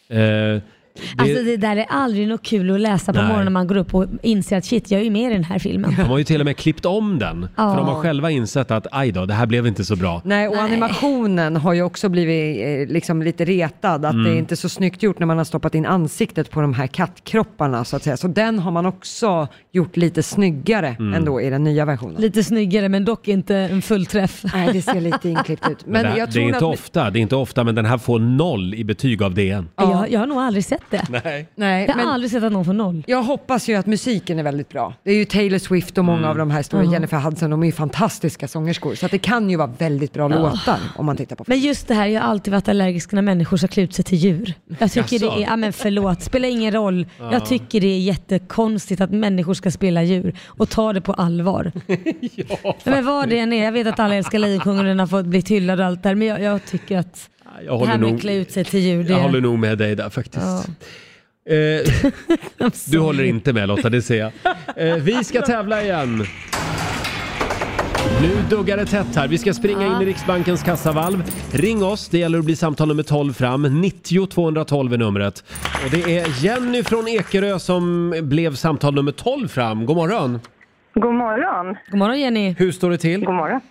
Speaker 1: Eh, det-
Speaker 2: Alltså det där är aldrig något kul att läsa på
Speaker 1: Nej.
Speaker 2: morgonen när man går upp och inser att shit, jag är ju med i den här filmen.
Speaker 1: De har ju till och med klippt om den.
Speaker 2: Ja.
Speaker 1: För de har själva insett att aj då, det här blev inte så bra.
Speaker 3: Nej, och animationen har ju också blivit eh, liksom lite retad. Att
Speaker 1: Mm.
Speaker 3: det är inte så snyggt gjort när man har stoppat in ansiktet på de här kattkropparna så att säga. Så den har man också gjort lite snyggare
Speaker 2: Mm.
Speaker 3: ändå i den nya versionen.
Speaker 2: Lite snyggare men dock inte en fullträff.
Speaker 3: Nej, det ser lite inklippt ut.
Speaker 1: Men det, här, det är inte ofta, det är inte ofta, men den här får noll i betyg av DN.
Speaker 2: Jag, jag har nog aldrig sett det.
Speaker 1: Nej.
Speaker 3: Nej,
Speaker 2: jag har aldrig sett att någon får noll.
Speaker 3: Jag hoppas ju att musiken är väldigt bra. Det är ju Taylor Swift och många
Speaker 2: Mm.
Speaker 3: av de här stora,
Speaker 2: Ja.
Speaker 3: Jennifer Hudson, de är ju fantastiska sångerskor. Så att det kan ju vara väldigt bra
Speaker 2: Ja.
Speaker 3: låtar om man tittar på
Speaker 2: Men just det här, jag har alltid varit allergisk när människor ska klä ut sig till djur. Jag tycker
Speaker 3: Jaså?
Speaker 2: det är, ja men förlåt, spelar ingen roll.
Speaker 3: Ja.
Speaker 2: Jag tycker det är jättekonstigt att människor ska spela djur och ta det på allvar. ja, men vad det än är, jag vet att alla älskar Lejonkungen och den har fått bli hyllad och allt där, men jag, jag tycker att
Speaker 1: Jag
Speaker 2: det
Speaker 1: håller,
Speaker 2: här med att
Speaker 1: nog,
Speaker 2: klä ut sig till djur, det
Speaker 1: jag håller nog med dig där faktiskt.
Speaker 2: Ja.
Speaker 1: Eh, du håller inte med Lotta, det ser jag. Eh, vi ska tävla igen. Nu duggar det tätt här. Vi ska springa in i Riksbankens kassavalv. Ring oss, det gäller att bli samtal nummer 12 fram. 90 212 är numret. Och det är Jenny från Ekerö som blev samtal nummer 12 fram. God morgon!
Speaker 6: God morgon.
Speaker 2: God morgon Jenny!
Speaker 1: Hur står det till?
Speaker 6: God morgon.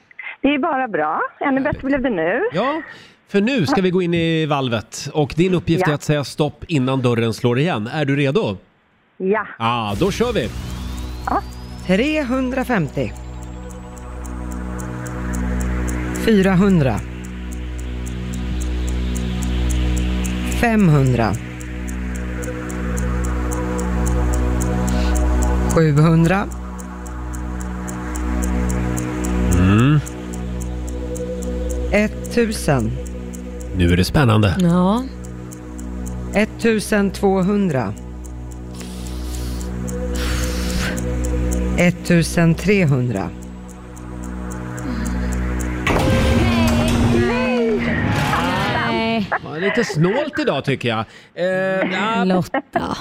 Speaker 6: Det är bara bra. Ännu bättre blev det nu.
Speaker 1: Ja, för nu ska vi gå in i valvet och din uppgift
Speaker 6: Ja.
Speaker 1: är att säga stopp innan dörren slår igen. Är du redo?
Speaker 6: Ja.
Speaker 1: Ja, då kör vi!
Speaker 3: 350. 400. 500. 700.
Speaker 1: Mm,
Speaker 3: 1000.
Speaker 1: nu är det spännande.
Speaker 2: Ja.
Speaker 3: 1200. 1300.
Speaker 2: Nej.
Speaker 1: Ja, Lite snålt idag tycker jag. Eh,
Speaker 2: Lotta.
Speaker 3: Ja.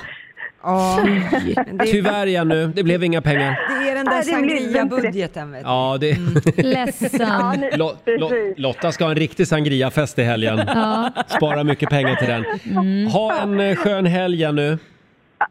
Speaker 1: ja, tyvärr Jenny, det blev inga pengar.
Speaker 3: Det är den där
Speaker 6: Nej, det blir inte
Speaker 3: sangria-budgeten. vet du.
Speaker 1: Ja, det...
Speaker 2: Mm.
Speaker 6: Ja, nu-
Speaker 1: Lo- Lo-
Speaker 6: precis.
Speaker 1: Lotta ska ha en riktig sangriafest i helgen.
Speaker 6: Ja.
Speaker 1: Spara mycket pengar till den.
Speaker 2: Mm.
Speaker 1: Ha en eh, skön helg Jenny.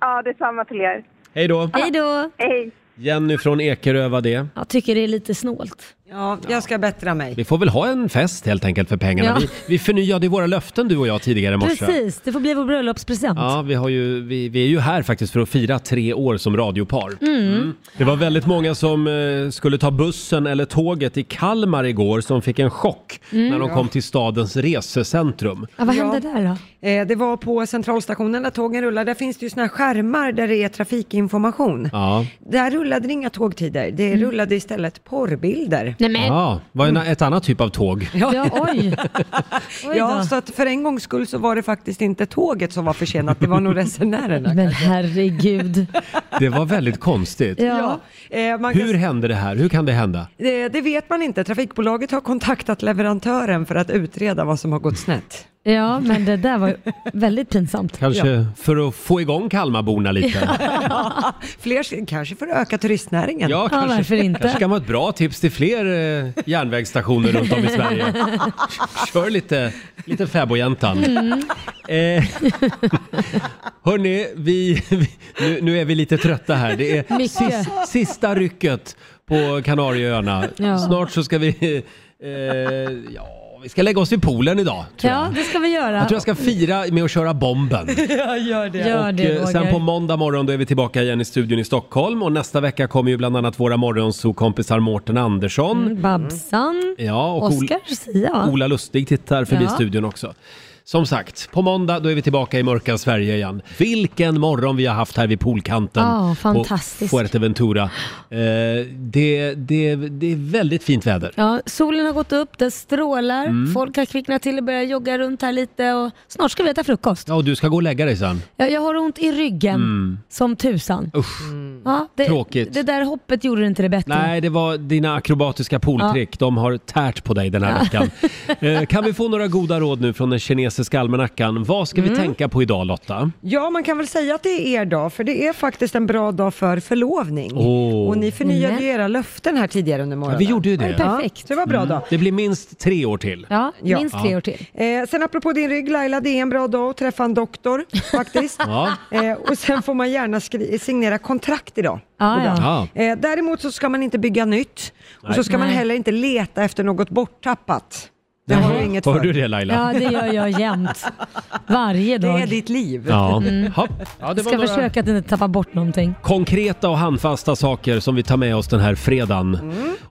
Speaker 6: Ja, det är samma till er.
Speaker 1: Hej då.
Speaker 2: Hej då!
Speaker 6: Hej!
Speaker 1: Jenny från Ekerö var det.
Speaker 2: Jag tycker det är lite snålt.
Speaker 3: Ja, jag ska bättra mig.
Speaker 1: Vi får väl ha en fest helt enkelt för pengarna.
Speaker 2: Ja.
Speaker 1: Vi, vi förnyade ju våra löften du och jag tidigare i morse.
Speaker 2: Precis, det får bli vår bröllopspresent.
Speaker 1: Ja, vi, har ju, vi, vi är ju här faktiskt för att fira tre år som radiopar.
Speaker 2: Mm.
Speaker 1: Det var väldigt många som eh, skulle ta bussen eller tåget i Kalmar igår som fick en chock
Speaker 2: Mm.
Speaker 1: när de
Speaker 2: Ja.
Speaker 1: kom till stadens resecentrum.
Speaker 2: Ja, vad hände där då?
Speaker 3: Eh, Det var på centralstationen där tågen rullar. Där finns det ju såna här skärmar där det är trafikinformation.
Speaker 1: Ja.
Speaker 3: Där rullade det inga tågtider. Det
Speaker 2: Mm.
Speaker 3: rullade istället porrbilder.
Speaker 2: Nej,
Speaker 1: Ja, var en, ett annat typ av tåg.
Speaker 2: Ja, oj. Oj
Speaker 3: ja,
Speaker 2: då.
Speaker 3: så att för en gångs skull så var det faktiskt inte tåget som var försenat, det var nog resenärerna.
Speaker 2: Men herregud.
Speaker 1: Det var väldigt konstigt.
Speaker 3: Ja. Eh, man kan- Eh,
Speaker 1: Hur hände det här? Hur kan det hända?
Speaker 3: Det, det vet man inte. Trafikbolaget har kontaktat leverantören för att utreda vad som har gått snett.
Speaker 2: Ja, men det där var ju väldigt pinsamt.
Speaker 1: Kanske
Speaker 2: Ja.
Speaker 1: för att få igång Kalmarborna lite.
Speaker 3: Fler ska- kanske för att öka turistnäringen.
Speaker 1: Ja, kanske, kanske kan vara ett bra tips till fler eh, järnvägsstationer runt om i Sverige. Kör lite, lite fäbodjäntan.
Speaker 5: Mm.
Speaker 1: Eh, hörni, vi, vi, nu, nu är vi lite trötta här. Det är
Speaker 5: Mycket.
Speaker 1: sista, sista rycket på Kanarieöarna.
Speaker 2: Ja.
Speaker 1: Snart så ska vi... Eh, ja, vi ska lägga oss i poolen idag. Tror jag.
Speaker 2: Ja, det ska vi göra.
Speaker 1: jag tror jag ska fira med att köra bomben.
Speaker 3: Ja, gör det.
Speaker 2: Gör
Speaker 1: Och, eh,
Speaker 2: det, Roger.
Speaker 1: sen på måndag morgon då är vi tillbaka igen i studion i Stockholm och nästa vecka kommer ju bland annat våra morgonsokompisar Mårten Andersson.
Speaker 2: Mm, Babsan,
Speaker 1: Ja, och Ol-
Speaker 2: Oscar, Sia.
Speaker 1: Ola Lustig tittar förbi
Speaker 2: Ja.
Speaker 1: studion också. Som sagt, på måndag då är vi tillbaka i mörka Sverige igen. Vilken morgon vi har haft här vid poolkanten
Speaker 2: Ja,
Speaker 1: på
Speaker 2: fantastisk.
Speaker 1: Fuerteventura. Eh, det, det, det är väldigt fint väder.
Speaker 2: Ja, solen har gått upp, den strålar,
Speaker 1: Mm.
Speaker 2: folk har kvicknat till och börjat jogga runt här lite och snart ska vi äta frukost.
Speaker 1: Ja, och du ska gå och lägga dig sen.
Speaker 2: Jag, jag har ont i ryggen
Speaker 1: Mm.
Speaker 2: som tusan.
Speaker 1: Usch.
Speaker 3: Mm.
Speaker 2: Ja, det,
Speaker 1: Tråkigt.
Speaker 2: Det där hoppet gjorde det inte det bättre.
Speaker 1: Nej, det var dina akrobatiska pooltrick. De har tärt på dig den här
Speaker 2: Ja.
Speaker 1: veckan. Eh, kan vi få några goda råd nu från den kinesiska almanackan? Vad ska vi
Speaker 3: Mm.
Speaker 1: tänka på idag Lotta?
Speaker 3: Ja, man kan väl säga att det är er dag, för det är faktiskt en bra dag för förlovning.
Speaker 1: Åh.
Speaker 3: Och ni förnyade
Speaker 1: Mm.
Speaker 3: ju era löften här tidigare under morgonen.
Speaker 1: Ja, vi gjorde ju det.
Speaker 3: Ja, så det var bra
Speaker 1: Mm.
Speaker 3: dag.
Speaker 1: Det blir minst tre år till.
Speaker 3: till. Eh, sen apropå din rygg Laila, det är en bra dag att träffa en doktor faktiskt.
Speaker 1: Ja.
Speaker 3: eh, och sen får man gärna skri- signera kontrakt idag.
Speaker 2: Ja,
Speaker 3: God dag.
Speaker 5: ja.
Speaker 3: Eh, däremot så ska man inte bygga nytt och
Speaker 1: Nej.
Speaker 3: så ska man
Speaker 1: Nej.
Speaker 3: heller inte leta efter något borttappat. Det har du inget
Speaker 1: Hör
Speaker 3: för.
Speaker 1: du det Laila?
Speaker 2: Ja, det gör jag jämt. Varje dag.
Speaker 3: Det är ditt liv.
Speaker 1: Ja.
Speaker 2: Mm.
Speaker 1: Ha. Ja, det var
Speaker 2: Ska
Speaker 1: några
Speaker 2: försöka att inte tappa bort någonting.
Speaker 1: Konkreta och handfasta saker som vi tar med oss den här fredagen.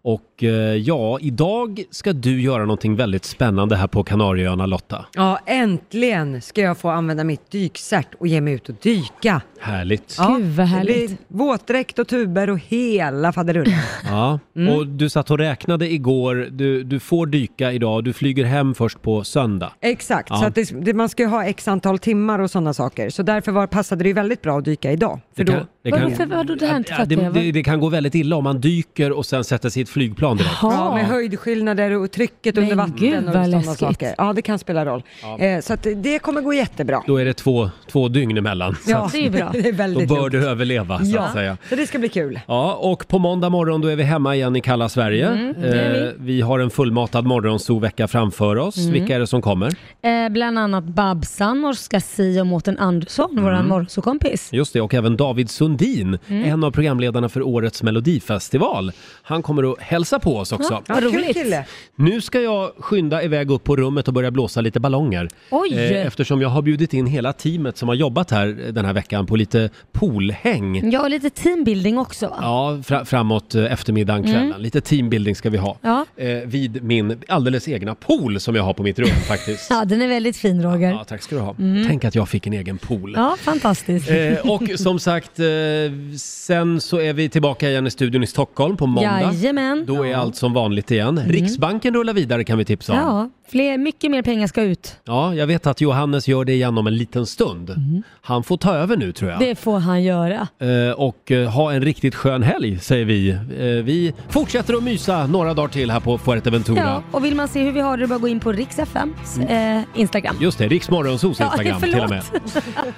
Speaker 1: Och eh, ja, idag ska du göra någonting väldigt spännande här på Kanarieöarna Lotta.
Speaker 3: Ja, äntligen ska jag få använda mitt dykcert och ge mig ut och dyka.
Speaker 1: Härligt.
Speaker 3: Ja,
Speaker 2: Gud, vad
Speaker 3: Det blir
Speaker 2: härligt.
Speaker 3: våtdräkt och tuber och hela faderullan.
Speaker 1: Ja,
Speaker 3: Mm.
Speaker 1: och du satt och räknade igår. Du, du får dyka idag. Du flyger hem först på söndag.
Speaker 3: Exakt,
Speaker 1: Ja.
Speaker 3: så att det, det, man ska ju ha x antal timmar och sådana saker. Så därför var, passade det ju väldigt bra att dyka idag. För
Speaker 1: Det
Speaker 3: då,
Speaker 1: kan- det kan- Varför-
Speaker 2: vadå, det här inte
Speaker 1: Ja, det,
Speaker 2: fattar jag, va?
Speaker 1: det, det kan gå väldigt illa om man dyker och sen sätter sig i ett flygplan direkt.
Speaker 3: Ja, med höjdskillnader och trycket under vatten
Speaker 2: gud,
Speaker 3: och
Speaker 2: vad
Speaker 3: sådana
Speaker 2: läskigt.
Speaker 3: saker. Ja, det kan spela roll.
Speaker 1: Ja.
Speaker 3: Eh, så att det- det kommer gå jättebra.
Speaker 1: Då är det två, två dygn emellan. så
Speaker 3: Ja,
Speaker 1: att-
Speaker 3: det är bra. det är
Speaker 1: Då
Speaker 3: väldigt
Speaker 1: bör
Speaker 3: klokt.
Speaker 1: du överleva så att säga.
Speaker 3: så det ska bli kul.
Speaker 1: Ja, och på måndag morgon då är vi hemma igen i kalla Sverige.
Speaker 2: Mm, det är vi.
Speaker 1: Eh, vi har en fullmatad morgonsovecka framför oss.
Speaker 2: Mm.
Speaker 1: Vilka är det som kommer?
Speaker 2: Eh, bland annat Babsan, Oscar Sia och Mårten Andersson,
Speaker 1: Mm.
Speaker 2: vår morgonsokompis.
Speaker 1: Just det, och även David Sundin,
Speaker 2: Mm.
Speaker 1: en av programledarna för årets melodifestival. Han kommer att hälsa på oss också.
Speaker 2: Ja, vad roligt. Kul
Speaker 3: kille.
Speaker 1: Nu ska jag skynda iväg upp på rummet och börja blåsa lite ballonger.
Speaker 2: Oj!
Speaker 1: Eh, Eftersom jag har bjudit in hela teamet som har jobbat här eh, den här veckan på lite poolhäng.
Speaker 2: Ja, och lite teambuilding också va?
Speaker 1: Ja, fra- framåt eh, eftermiddagen, kvällen.
Speaker 2: Mm.
Speaker 1: Lite teambuilding ska vi ha.
Speaker 2: Ja.
Speaker 1: Eh, vid min alldeles egna pool som jag har på mitt rum faktiskt.
Speaker 2: ja, den är väldigt fin Roger.
Speaker 1: Ja, tack ska du ha.
Speaker 2: Mm.
Speaker 1: Tänk att jag fick en egen pool.
Speaker 2: Ja, fantastiskt.
Speaker 1: Eh, och som sagt, eh, sen så är vi tillbaka igen i studion i Stockholm på måndag.
Speaker 2: Jajamän. Mm.
Speaker 1: Då är allt som vanligt igen. Riksbanken rullar vidare kan vi tipsa om. Ja.
Speaker 2: Ja, fler, mycket mer pengar ska ut.
Speaker 1: jag vet att Johannes gör det igen om en liten stund. Han får ta över nu tror jag.
Speaker 2: Mm. Det får han göra.
Speaker 1: Eh, och eh, ha en riktigt skön helg säger vi. Eh, vi fortsätter att mysa några dagar till här på Fuerteventura.
Speaker 2: Ja, och vill man se hur vi har det, bara gå in på Rix FMs eh, Instagram.
Speaker 1: Just det, Riksmorgonsos
Speaker 2: Ja,
Speaker 1: Instagram Mm. till och med.
Speaker 2: förlåt.